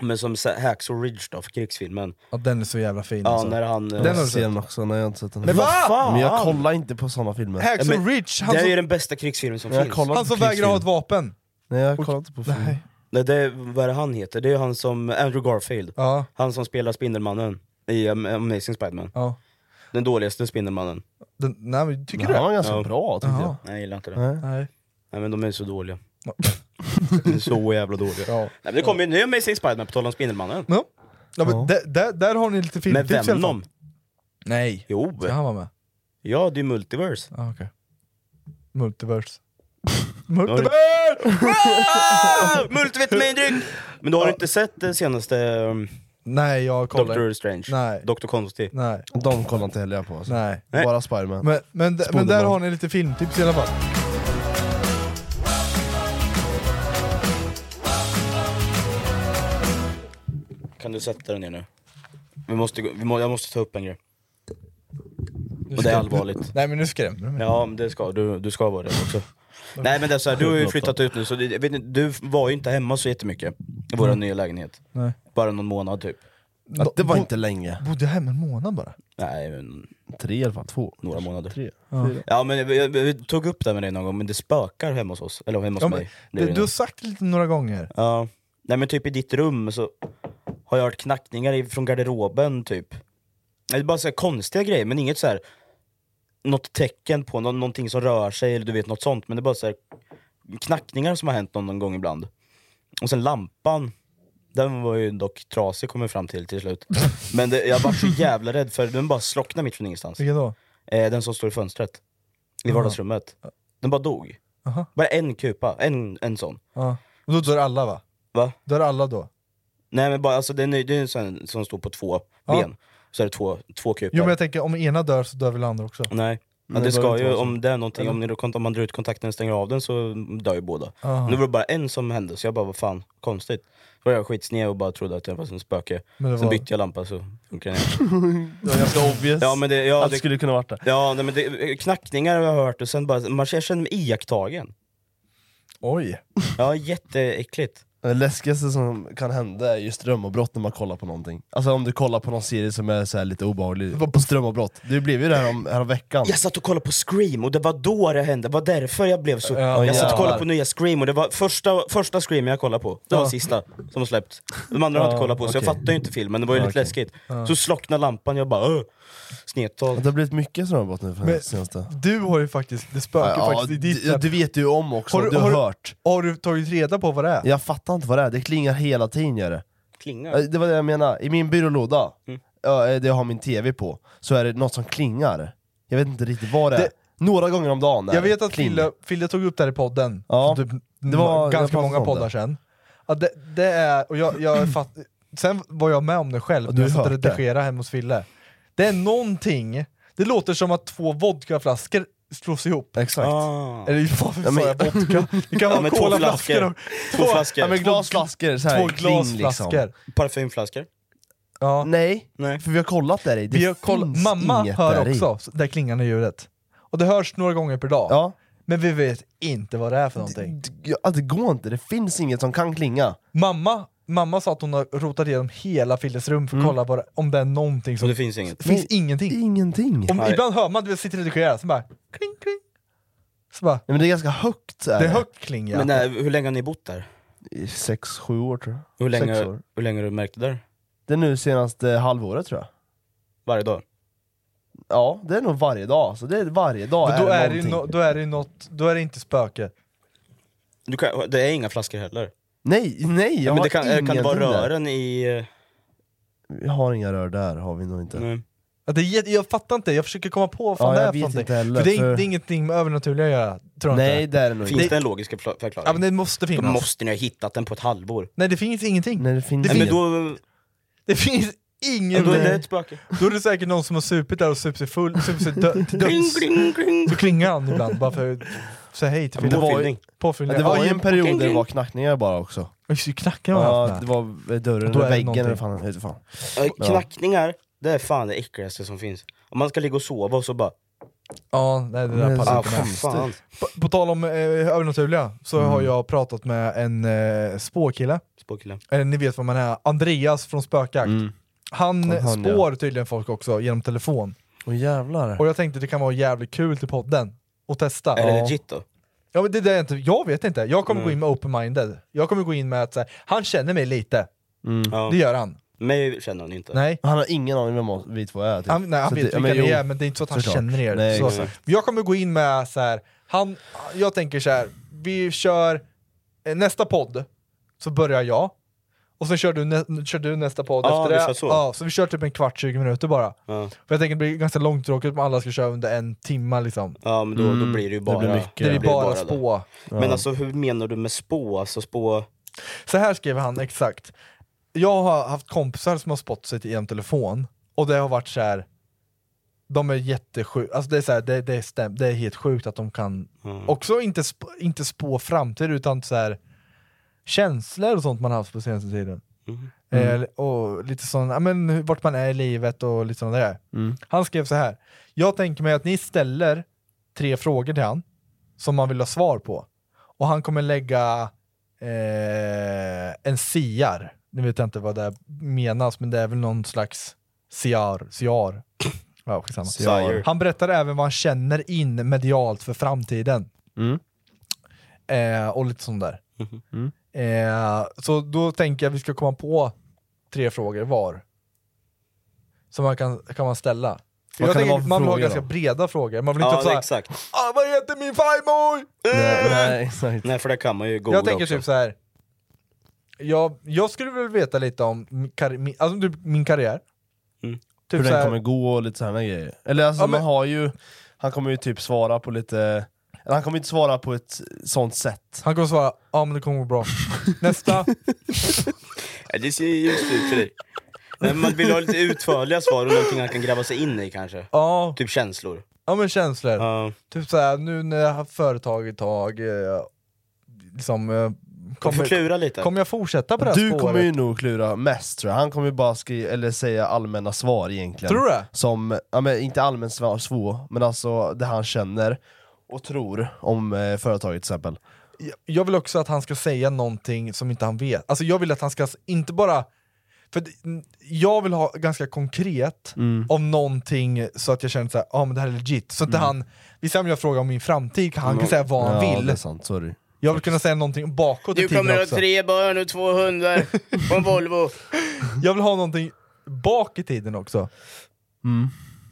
Men som så- Hacksaw Ridge då, för krigsfilmen.
Ja, den är så jävla fin
Ja,
alltså.
när han... eh,
Den har du
ser den också, nej jag har inte sett den.
Men vad fan!
Men jag kollar inte på såna filmer.
Ja,
Hacksaw
men-
Ridge, han
det är ju
som,
den bästa krigsfilmen som
Men jag
finns.
kollar
han
inte
som
på
vägrar ha ett
krigsfilm.
vapen.
Nej jag kollar inte på film.
Nej.
Nej, det är, vad är det han heter? Det är ju han som, Andrew Garfield.
Ja,
Han som spelar Spindelmannen i um, Amazing Spiderman.
ja.
Den dåligaste Spindelmannen.
Den, nej men tycker
Men
du
Han
det?
var ganska
Ja.
bra tyckte jag.
Jaha.
Nej jag gillar inte det.
Nej.
Nej.
Nej men de är så dåliga. [LAUGHS] De är så jävla dåliga.
Ja.
Nej, men det kommer ju en ny Amazing Spiderman på tal om Spindelmannen.
Ja. Ja, men
Ja.
där- där, där har ni lite
Med
filmtips i alla fall.
Venom.
Nej.
Jo!
Ska han vara med?
Ja det är ju Multiverse.
Ah, okej. Multiverse. Multiverse! [LAUGHS]
Ah! Multivitaminedryck! Men du har inte sett den senaste um,
Nej, jag kollar
Doctor Strange?
Nej.
Doctor Konstig?
Nej,
De kollar inte heller jag på alltså.
nej.
Nej.
Bara
Men,
Spiderman.
men, men där
Spoderman.
har ni lite filmtips i alla fall.
Kan du sätta den ner nu? Vi måste, gå- vi må, jag måste ta upp en grej. Och det är allvarligt.
Nej men nu skrämde du mig.
Ja, men det ska du. Du ska vara det också. Nej men det är så här, du har ju flyttat ut nu, så det, jag vet inte, du var ju inte hemma så jättemycket i vår nya lägenhet.
Nej.
Bara någon månad typ.
Att det var
Bo-
inte länge.
Bodde jag hemma en månad bara?
Nej, men
Tre i alla fall, två.
några månader.
Tre.
Ja men jag, jag, jag tog upp det med dig någon gång, men det spökar hemma hos oss. Eller hemma hos
Ja, men,
mig. Det är
du,
det
du har
nog.
sagt det lite några gånger.
Ja. Nej men typ i ditt rum så har jag hört knackningar i- från garderoben typ. Nej, Det är bara så här konstiga grejer, men inget så här något tecken på nå- någonting som rör sig eller du vet något sånt. Men det är bara så här knackningar som har hänt någon, någon gång ibland. Och sen lampan, den var ju dock trasig kom jag fram till till slut. Men det, jag var så jävla rädd för den bara slocknade mitt från ingenstans.
Vilken då?
Eh, den som står i fönstret. I vardagsrummet. Den bara dog.
Aha.
Bara en kupa, en, en sån.
Ja. Och då dör alla va?
Va?
Dör alla då?
Nej men bara, alltså den är, det är en sån som står på två
Ja.
ben. Så är det två, två kupor.
Jo men jag tänker om ena dör så dör väl andra också?
Nej. Ja,
det
det ska
behöver inte
ju,
vara så.
om det är någonting, om, ni, då kont- om man drar ut kontakten och stänger av den så dör ju båda.
Aha.
Nu var det bara en som hände, så jag bara vad fan, konstigt. Då var jag skitsned och bara trodde att jag var som spöke.
Men det
Sen
var-
bytte jag lampa så funkar den igen.
Det var ganska obvious
Ja men det, ja,
att det
det,
skulle kunna varit det.
ja, nej, men det, knackningar har jag hört och sen bara, man, jag känner mig iakttagen.
Oj.
Ja jätteäckligt.
Det läskigaste som kan hända är ju strömavbrott när man kollar på någonting. Alltså om du kollar på någon serie som är så här lite obehaglig, på strömavbrott. Det blev ju det här om, här om veckan.
Jag satt och kollade på Scream och det var då det hände, det var därför jag blev så...
Ja,
jag satt och
jävlar.
kollade på nya Scream och det var första, första Scream jag kollade på, det var sista som har släppt. De andra har jag inte kollat på, så jag
okej.
fattade ju inte filmen, det var ju lite
okej.
läskigt. Så slocknade lampan, jag bara "Åh", snedtag.
Det har blivit mycket strömavbrott nu för
Men-
det senaste.
Du har ju faktiskt, det spökar faktiskt i ditt...
det, det vet du ju om också,
Har du-
du har
har du-
hört.
Har du tagit reda på vad det är?
Jag fattar inte vad det är, det klingar hela tiden gör det.
Klingar.
Eh, Det var det jag menade, i min byrålåda,
Mm.
ja, eh, där jag har min TV på, så är det något som klingar. Jag vet inte riktigt vad det är.
Det-
Några gånger om dagen är
Jag
det
vet att
kling.
Fille, Fille tog upp det här i podden,
Ja,
för typ,
det var- jag
ganska
pratade
många
om
poddar
det.
sedan. Ja, det, det är, och jag,
[CLEARS THROAT]
jag fatt, sen var jag med om det själv,
Och
när
du
jag satt och
hört det?
redigerade hemma hos Fille. Det är någonting, det låter som att två vodkaflaskor slås ihop.
Exakt.
Ah.
Eller varför
Ja, men-
sa jag vodka? Det kan
Ja,
vara
men två
colaflaskor.
flaskor.
och-
Två flaskor.
Ja men glasflaskor, så här,
Två
kling
glasflaskor.
Liksom.
Parfymflaskor.
Ja.
Nej,
Nej.
för vi har kollat där i. Det
Vi har koll-
finns
mamma
inget
hör
där i.
också det klingande ljudet. Och det hörs några gånger per dag.
Ja.
Men vi vet inte vad det är för någonting.
D- ja, det går inte, det finns inget som kan klinga.
Mamma, mamma sa att hon har rotat igenom hela Filles rum för att kolla bara, om det är någonting
Och
som...
det finns inget.
Mm. Det finns
Nej.
ingenting.
Ingenting.
Om,
Nej.
ibland hör man, du vet, sitter och redigerar, så bara kling kling. Så bara,
Nej, men det är ganska högt.
det är högt kling ja.
Men nej, hur länge har ni bott där?
I Sex, sju år tror jag.
Hur länge,
Sex år.
hur länge har du märkt det där?
Det är nu senaste halvåret tror jag.
Varje dag?
Ja, det är nog varje dag. Så det är varje dag
Men då,
är
är
det
det ju
någonting.
no, då är det ju något, då är det inte spöke.
Du kan, det är inga flaskor heller.
Nej, nej! Jag
men
har
det kan, kan det vara
ingenting där.
rören i... eh,
Vi har inga rör där, har vi nog inte.
nej.
Att det är, jätte- jag fattar inte, jag försöker komma på vad fan
Ja,
det
jag
är för
vet
någonting.
inte heller,
för det är
för-
inte ingenting med övernaturliga att göra, tror jag
Nej
inte.
det är det nog
Finns
inte.
det, en logisk förkla- förklaring?
Ja men det måste
Då
finnas.
måste ni ha hittat den på ett halvår.
Nej det finns ingenting.
Nej, det finns
Nej, men
ingen.
då,
Det finns ingen
då är det
väg.
ett spöke.
Då är det säkert någon som har supit där och supit sig full, supit sig
[LAUGHS]
dö- till
Kling,
döds.
kling, kling.
Så klingar han ibland bara för att säga hej till
Men det
Filip.
var ju-
Påfyllning.
Ja,
Påfyllning.
det var
Ja,
ju en period där det
Okej.
var knackningar bara också.
Oj, så knackar man
Ja,
haft
det
med.
var eh, dörren
Då är
eller
det
väggen eller
någonting.
fan, jag vet fan.
Äh, Knackningar, det är fan det äckligaste som finns. Om man ska ligga och sova och så bara...
Ja, nej det
Men
där pallar
Ah,
inte med.
fan.
På, på tal om eh, övernaturliga, så
Mm.
har jag pratat med en eh, spåkille.
Spåkille.
Eller ni vet vad man är, Andreas från Spökjakt. Han
Och Mm. han,
spår tydligen folk också genom telefon.
Åh jävlar.
Och jag tänkte det kan vara jävligt kul till podden. Och testa.
Är det
Ja.
legit då?
Ja, men det där är inte, jag vet inte, jag
Mm.
kommer gå in med open-minded. Jag kommer gå in med att så här, han känner mig lite,
Ja.
det gör han.
Mig känner han inte.
Nej,
Mm. Han har ingen aning vem oss- vi två är. typ.
han, nej, han
Så
vet
det- ja,
vilka ni
jo,
är men det är inte så att han
såklart.
känner er.
Nej,
så,
exakt.
Men Jag kommer gå in med så här, han, jag tänker så här, vi kör eh, nästa podd, så börjar jag. Och sen kör du, nä, kör du nästa podd
Ja,
efter
vi
det.
kör så.
Ja, så vi kör typ en kvart, 20 minuter bara.
Ja.
För jag tänker det blir ganska långtråkigt om alla ska köra under en timme liksom.
Ja men då, då blir det ju bara...
blir mycket.
Det blir bara,
det.
spå.
Men alltså hur menar du med spå? Alltså spå...
Så här skriver han exakt. Jag har haft kompisar som har spott sig genom telefon och det har varit så här. De är jättesjuka, alltså det, är så här, det, det, är stäm- det är helt sjukt att de kan också inte, sp- inte spå framtid utan så här känslor och sånt man har haft på senaste tiden. Eh, och lite sån, ja, men hur- vart man är i livet och lite sånt där. Han skrev så här. Jag tänker mig att ni ställer tre frågor till han som man vill ha svar på. Och han kommer lägga eh, en siar. Nu vet jag inte vad det menas, men det är väl någon slags siar. siar. Ja, skitsamma.
Siar.
Han berättar även vad han känner in medialt för framtiden. Eh, och lite sånt där. Eh, så då tänker jag att vi ska komma på tre frågor var. Som man kan, kan man ställa.
Vad
jag
kan det
tänker
vara för
man vill ha
frågor
ganska
då?
breda frågor. Man vill inte
Ja
ha så här,
exakt.
ah, vad heter min farmor? Eh.
Nej, nej,
Typ
exakt.
Nej för det kan man ju googla
Jag tänker
också.
typ så här. Jag, jag skulle väl veta lite om min, kar- min, alltså typ min karriär.
Mm.
Typ
Hur
så
den
här,
kommer gå och lite sådana grejer. Eller alltså
Ja,
man
men-
har ju, han kommer ju typ svara på lite, eller han kommer inte svara på ett sånt sätt.
Han kommer svara ja men det kommer gå [LAUGHS] bra. Nästa,
Ja, det ser ju just ut för dig. Nej, men man vill ha lite utförliga svar och någonting han kan gräva sig in i kanske.
ja,
Typ känslor.
ja men känslor.
Ja.
Typ så här, nu när jag har haft företag ett tag, eh, liksom, eh,
Kommer, får
kommer,
klura lite.
kommer jag fortsätta på det här
Du
spåret?
kommer ju nog klura mest tror jag, han kommer ju bara skriva, eller säga allmänna svar egentligen.
Tror du det?
Som, ja men inte allmänt svar, svå, men alltså det han känner och tror om eh, företaget till exempel.
jag- jag vill också att han ska säga någonting som inte han vet. Alltså jag vill att han ska s- inte bara... För det- n- jag vill ha ganska konkret
Mm.
om någonting så att jag känner så här, ah, men det här är legit. Så att inte han, visst om jag frågar om min framtid, han kan säga vad han
Ja, det är
vill.
sant, sorry.
Jag vill kunna säga någonting bakåt i
Du kommer
tiden
ha
också.
tre barn och två hundar på en Volvo.
Jag vill ha någonting bak i tiden också.
[LAUGHS]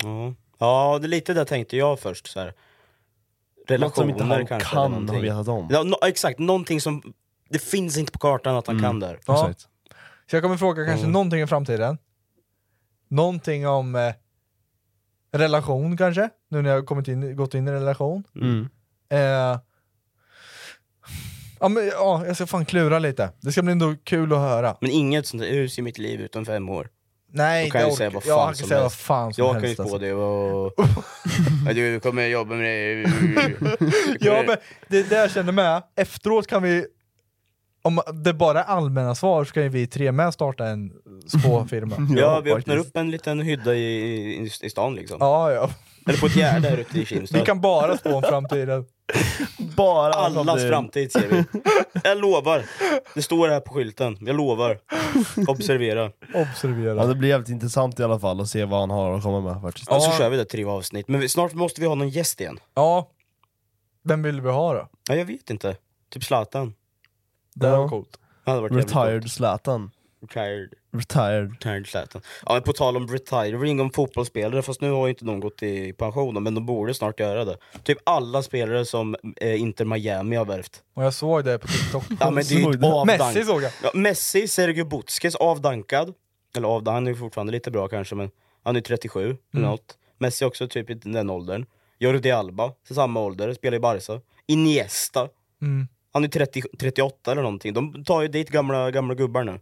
Ja. ja, det är lite det tänkte jag först. Så här.
Något som inte
Relationer
han
kanske. eller
kan ha
någonting.
vetat om.
Ja, nå- exakt, någonting som... Det finns inte på kartan att han
Mm.
kan där.
Ja.
Exakt.
Så jag kommer fråga kanske
Mm.
någonting om framtiden. Någonting om eh, relation kanske, nu när jag har kommit in, gått in i en relation.
Mm.
Eh, ja, men, ja, jag ska fan klura lite. Det ska bli ändå kul att höra.
Men inget sånt där, hur ser mitt liv ut om fem år?
Nej,
Då kan
det
jag ju
orkar-
säga vad
ja,
fan
han kan
som
säga vad
helst.
fan som
Jag kan ju
helst.
spå
alltså. [LAUGHS]
det och... Ja, Du kommer jobba med det.
Ja, men det är det jag känner med. Efteråt kan vi, om det bara är allmänna svar, så kan ju vi tre med starta en spåfirma.
[LAUGHS] Ja, vi öppnar upp en liten hydda i, i, i stan liksom.
Ja, ja.
Eller på ett gärde här ute i Kimstad.
Vi kan bara spå om
[LAUGHS]
framtiden.
Bara om
Allas
du-
framtid ser vi. Jag lovar. Det står här på skylten. Jag lovar. Observera.
Ja,
Observera.
det blir jävligt intressant i alla fall att se vad han har att komma med faktiskt.
Och så kör vi det tre avsnitt. Men vi, snart måste vi ha någon gäst igen.
Ja. Vem vill vi ha då?
Ja, jag vet inte. Typ Zlatan.
Det
Ja.
var coolt.
Det hade varit jävligt
Retired Zlatan.
coolt. Retired.
Retired.
Retired Zlatan. Ja, men på tal om retiring om fotbollsspelare, fast nu har ju inte någon gått i pension, men de borde snart göra det. Typ alla spelare som eh, Inter Miami har värvt.
Och jag såg det på TikTok.
Ja, men det är ju
Såg du?
avdank-
Messi såg jag.
Ja, Messi, Sergio Butkes avdankad. Eller avdankad, han är ju fortfarande lite bra kanske men Han är 37
Mm.
eller något. Messi också typ i den åldern. Jordi Alba, samma ålder, spelar i Barca. Iniesta,
Mm.
han är 30, 38 eller någonting. De tar ju dit gamla, gamla gubbar nu.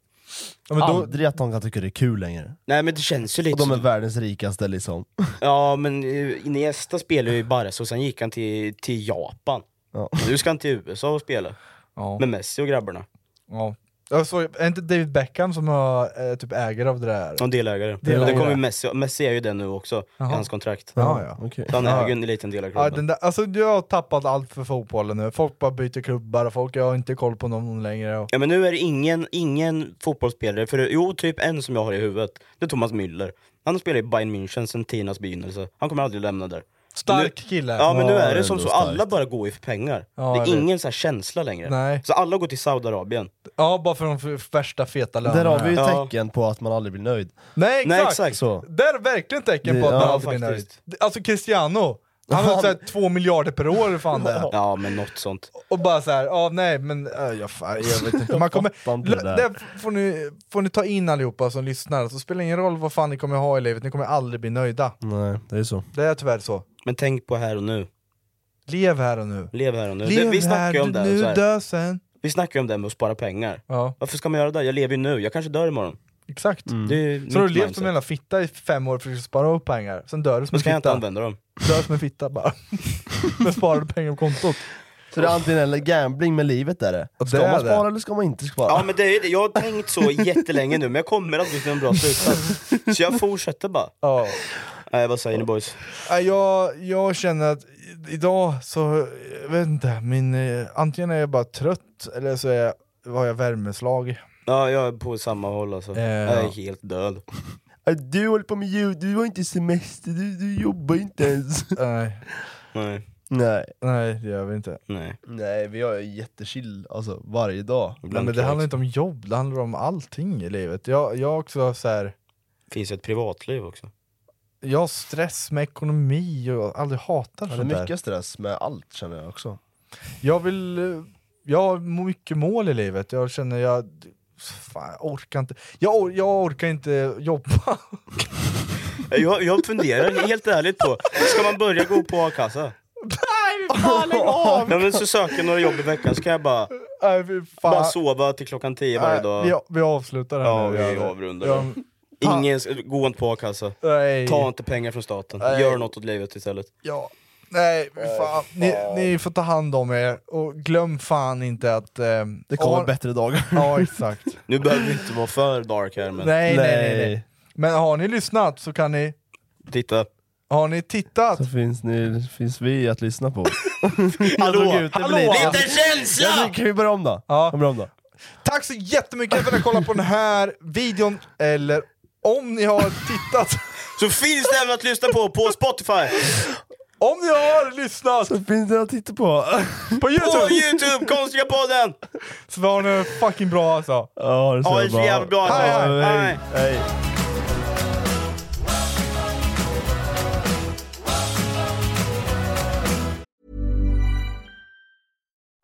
Ja, men då,
Aldrig att de kan tycka det är kul längre.
Nej men det känns ju
Och
lite
de är
som...
världens rikaste liksom.
Ja men eh, Iniesta spelade ju i Barca och sen gick han till, till Japan.
Ja.
Nu ska han till USA och spela.
ja.
Med Messi och grabbarna.
Ja. Jag såg, är inte David Beckham som har, eh, typ ägare av det där?
De delägare.
Delägare.
Det kommer ju Messi, Messi är ju det nu också,
Jaha.
i hans kontrakt.
Ja, ja.
Okej.
Så han
Ja,
äger
ja.
ju en liten del av
Ja,
klubben.
den där, alltså, jag har tappat allt för fotbollen nu, folk bara byter klubbar och folk, jag har inte koll på någon längre. Och,
Ja men nu är det ingen, ingen fotbollsspelare, för jo typ en som jag har i huvudet, det är Thomas Müller. Han spelar i Bayern München sedan tidernas begynnelse, han kommer aldrig lämna där.
stark kille!
Ja men nu
Ja,
är
det är
det som
ändå
så, alla
starkt.
bara går ju för pengar.
Ja, jag
det är
vet.
ingen så här känsla längre.
Nej.
Så alla går till Saudiarabien.
Ja, bara för de f- värsta feta lönerna.
Där har vi ju
Ja.
tecken på att man aldrig blir nöjd.
Nej exakt!
Nej exakt!
Så.
Där är verkligen tecken
Det-
på att
ja,
man alltid blir nöjd.
faktiskt.
Alltså Cristiano, han har
Han-
såhär två miljarder per år, hur fan det är.
Ja men något sånt.
Och bara såhär, ja nej men, äh, jag, fan, jag
[LAUGHS]
vet inte. Man kommer,
fattar inte det
Lö-
där.
där får, ni, får ni ta in allihopa som lyssnar, så spelar det ingen roll vad fan ni kommer ha i livet, ni kommer aldrig bli nöjda.
Nej, det är så.
Det är tyvärr så.
Men tänk på här och nu.
Lev här och nu.
Lev här och nu.
Lev
det, vi snackar
här
ju om det här,
nu,
så här.
dö sen.
Vi snackar ju om det här med att spara pengar.
Ja,
Varför ska man göra det? Jag lever ju nu, jag kanske dör imorgon.
exakt.
Det är Mm. mitt
Mm. Så har du levt
mindset.
som en jävla fitta i fem år för att spara upp pengar, sen dör du som
Men
en
ska jag inte
fitta.
använda dem?
Dör som en fitta
[LAUGHS]
bara. Men sparar du pengar på kontot.
Så det är antingen eller gambling med livet är det.
Och
Ska
det är
man
det.
spara eller ska man inte spara?
Ja men det är ju det. jag har tänkt så jättelänge nu men jag kommer aldrig till en bra slutsats. Så jag fortsätter bara.
Ja.
Nej vad säger ni boys?
Nej, Jag, jag känner att i- idag så, jag vet inte, min, eh, antingen är jag bara trött eller så är jag, har jag
[LAUGHS]
värmeslag.
Ja jag är på samma håll alltså. Jag är helt död.
Äh, Du håller på med ljud, du har inte semester, du, du jobbar inte ens.
Nej,
Nej,
[LAUGHS] nej.
nej det gör vi inte.
nej.
nej, vi har ju jättechill alltså, varje dag.
Nej,
Ibland
men det handlar inte om jobb, det handlar om allting i livet. Jag, jag också så här,
finns ju ett privatliv också.
jag har stress med ekonomi och jag aldrig hatar
Ja, det är
sånt där.
mycket stress med allt känner jag också.
Jag vill... eh, Jag har mycket mål i livet. Jag känner jag... Fan, jag orkar inte. Jag, or, jag orkar inte jobba.
Eh, Jag, jag funderar helt ärligt på, ska man börja gå på a-kassa?
Nej, fan lägg av!
Ja, men så söker jag några jobb i veckan så kan jag bara,
[LAUGHS] Nej, fy fan.
bara sova till klockan 10 varje
Nej, vi,
dag.
vi avslutar det
Ja,
nu.
vi
Göran.
avrundar
Ja,
då. Ingen, gå inte på a-kassa.
Nej.
Ta inte pengar från staten.
Nej.
Gör något åt livet istället.
Ja. Nej, fy fan. Ni, ni får ta hand om er och glöm fan inte att... ehm,
Det kommer
ha-
bättre dagar.
Ja,
[LAUGHS]
exakt.
Nu behöver vi inte vara för dark här men,
nej, nej, nej, nej. Men har ni lyssnat så kan ni...
titta.
Har ni tittat?
Så finns, ni, finns vi att lyssna på.
Hallå!
Drog ut det blir-
Lite känsla!
Jag tycker vi börjar om då.
Ja.
Vi börjar om då.
Tack så jättemycket för att ni kollade på den här videon, eller om ni har tittat,
Så finns det även att lyssna på på Spotify,
om ni har lyssnat
Så finns det att titta på.
på
på
Youtube!
Youtube, Konstiga podden!
Så var ni fucking bra alltså.
Ja, det
Ja, det är
ser
så
bra.
jävla bra.
Ja,
Hej, hej.
hej, hej.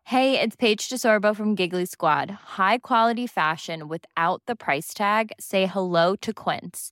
Hey, it's Paige DeSorbo from Giggly Squad. High quality fashion without the price tag. Say hello to Quince.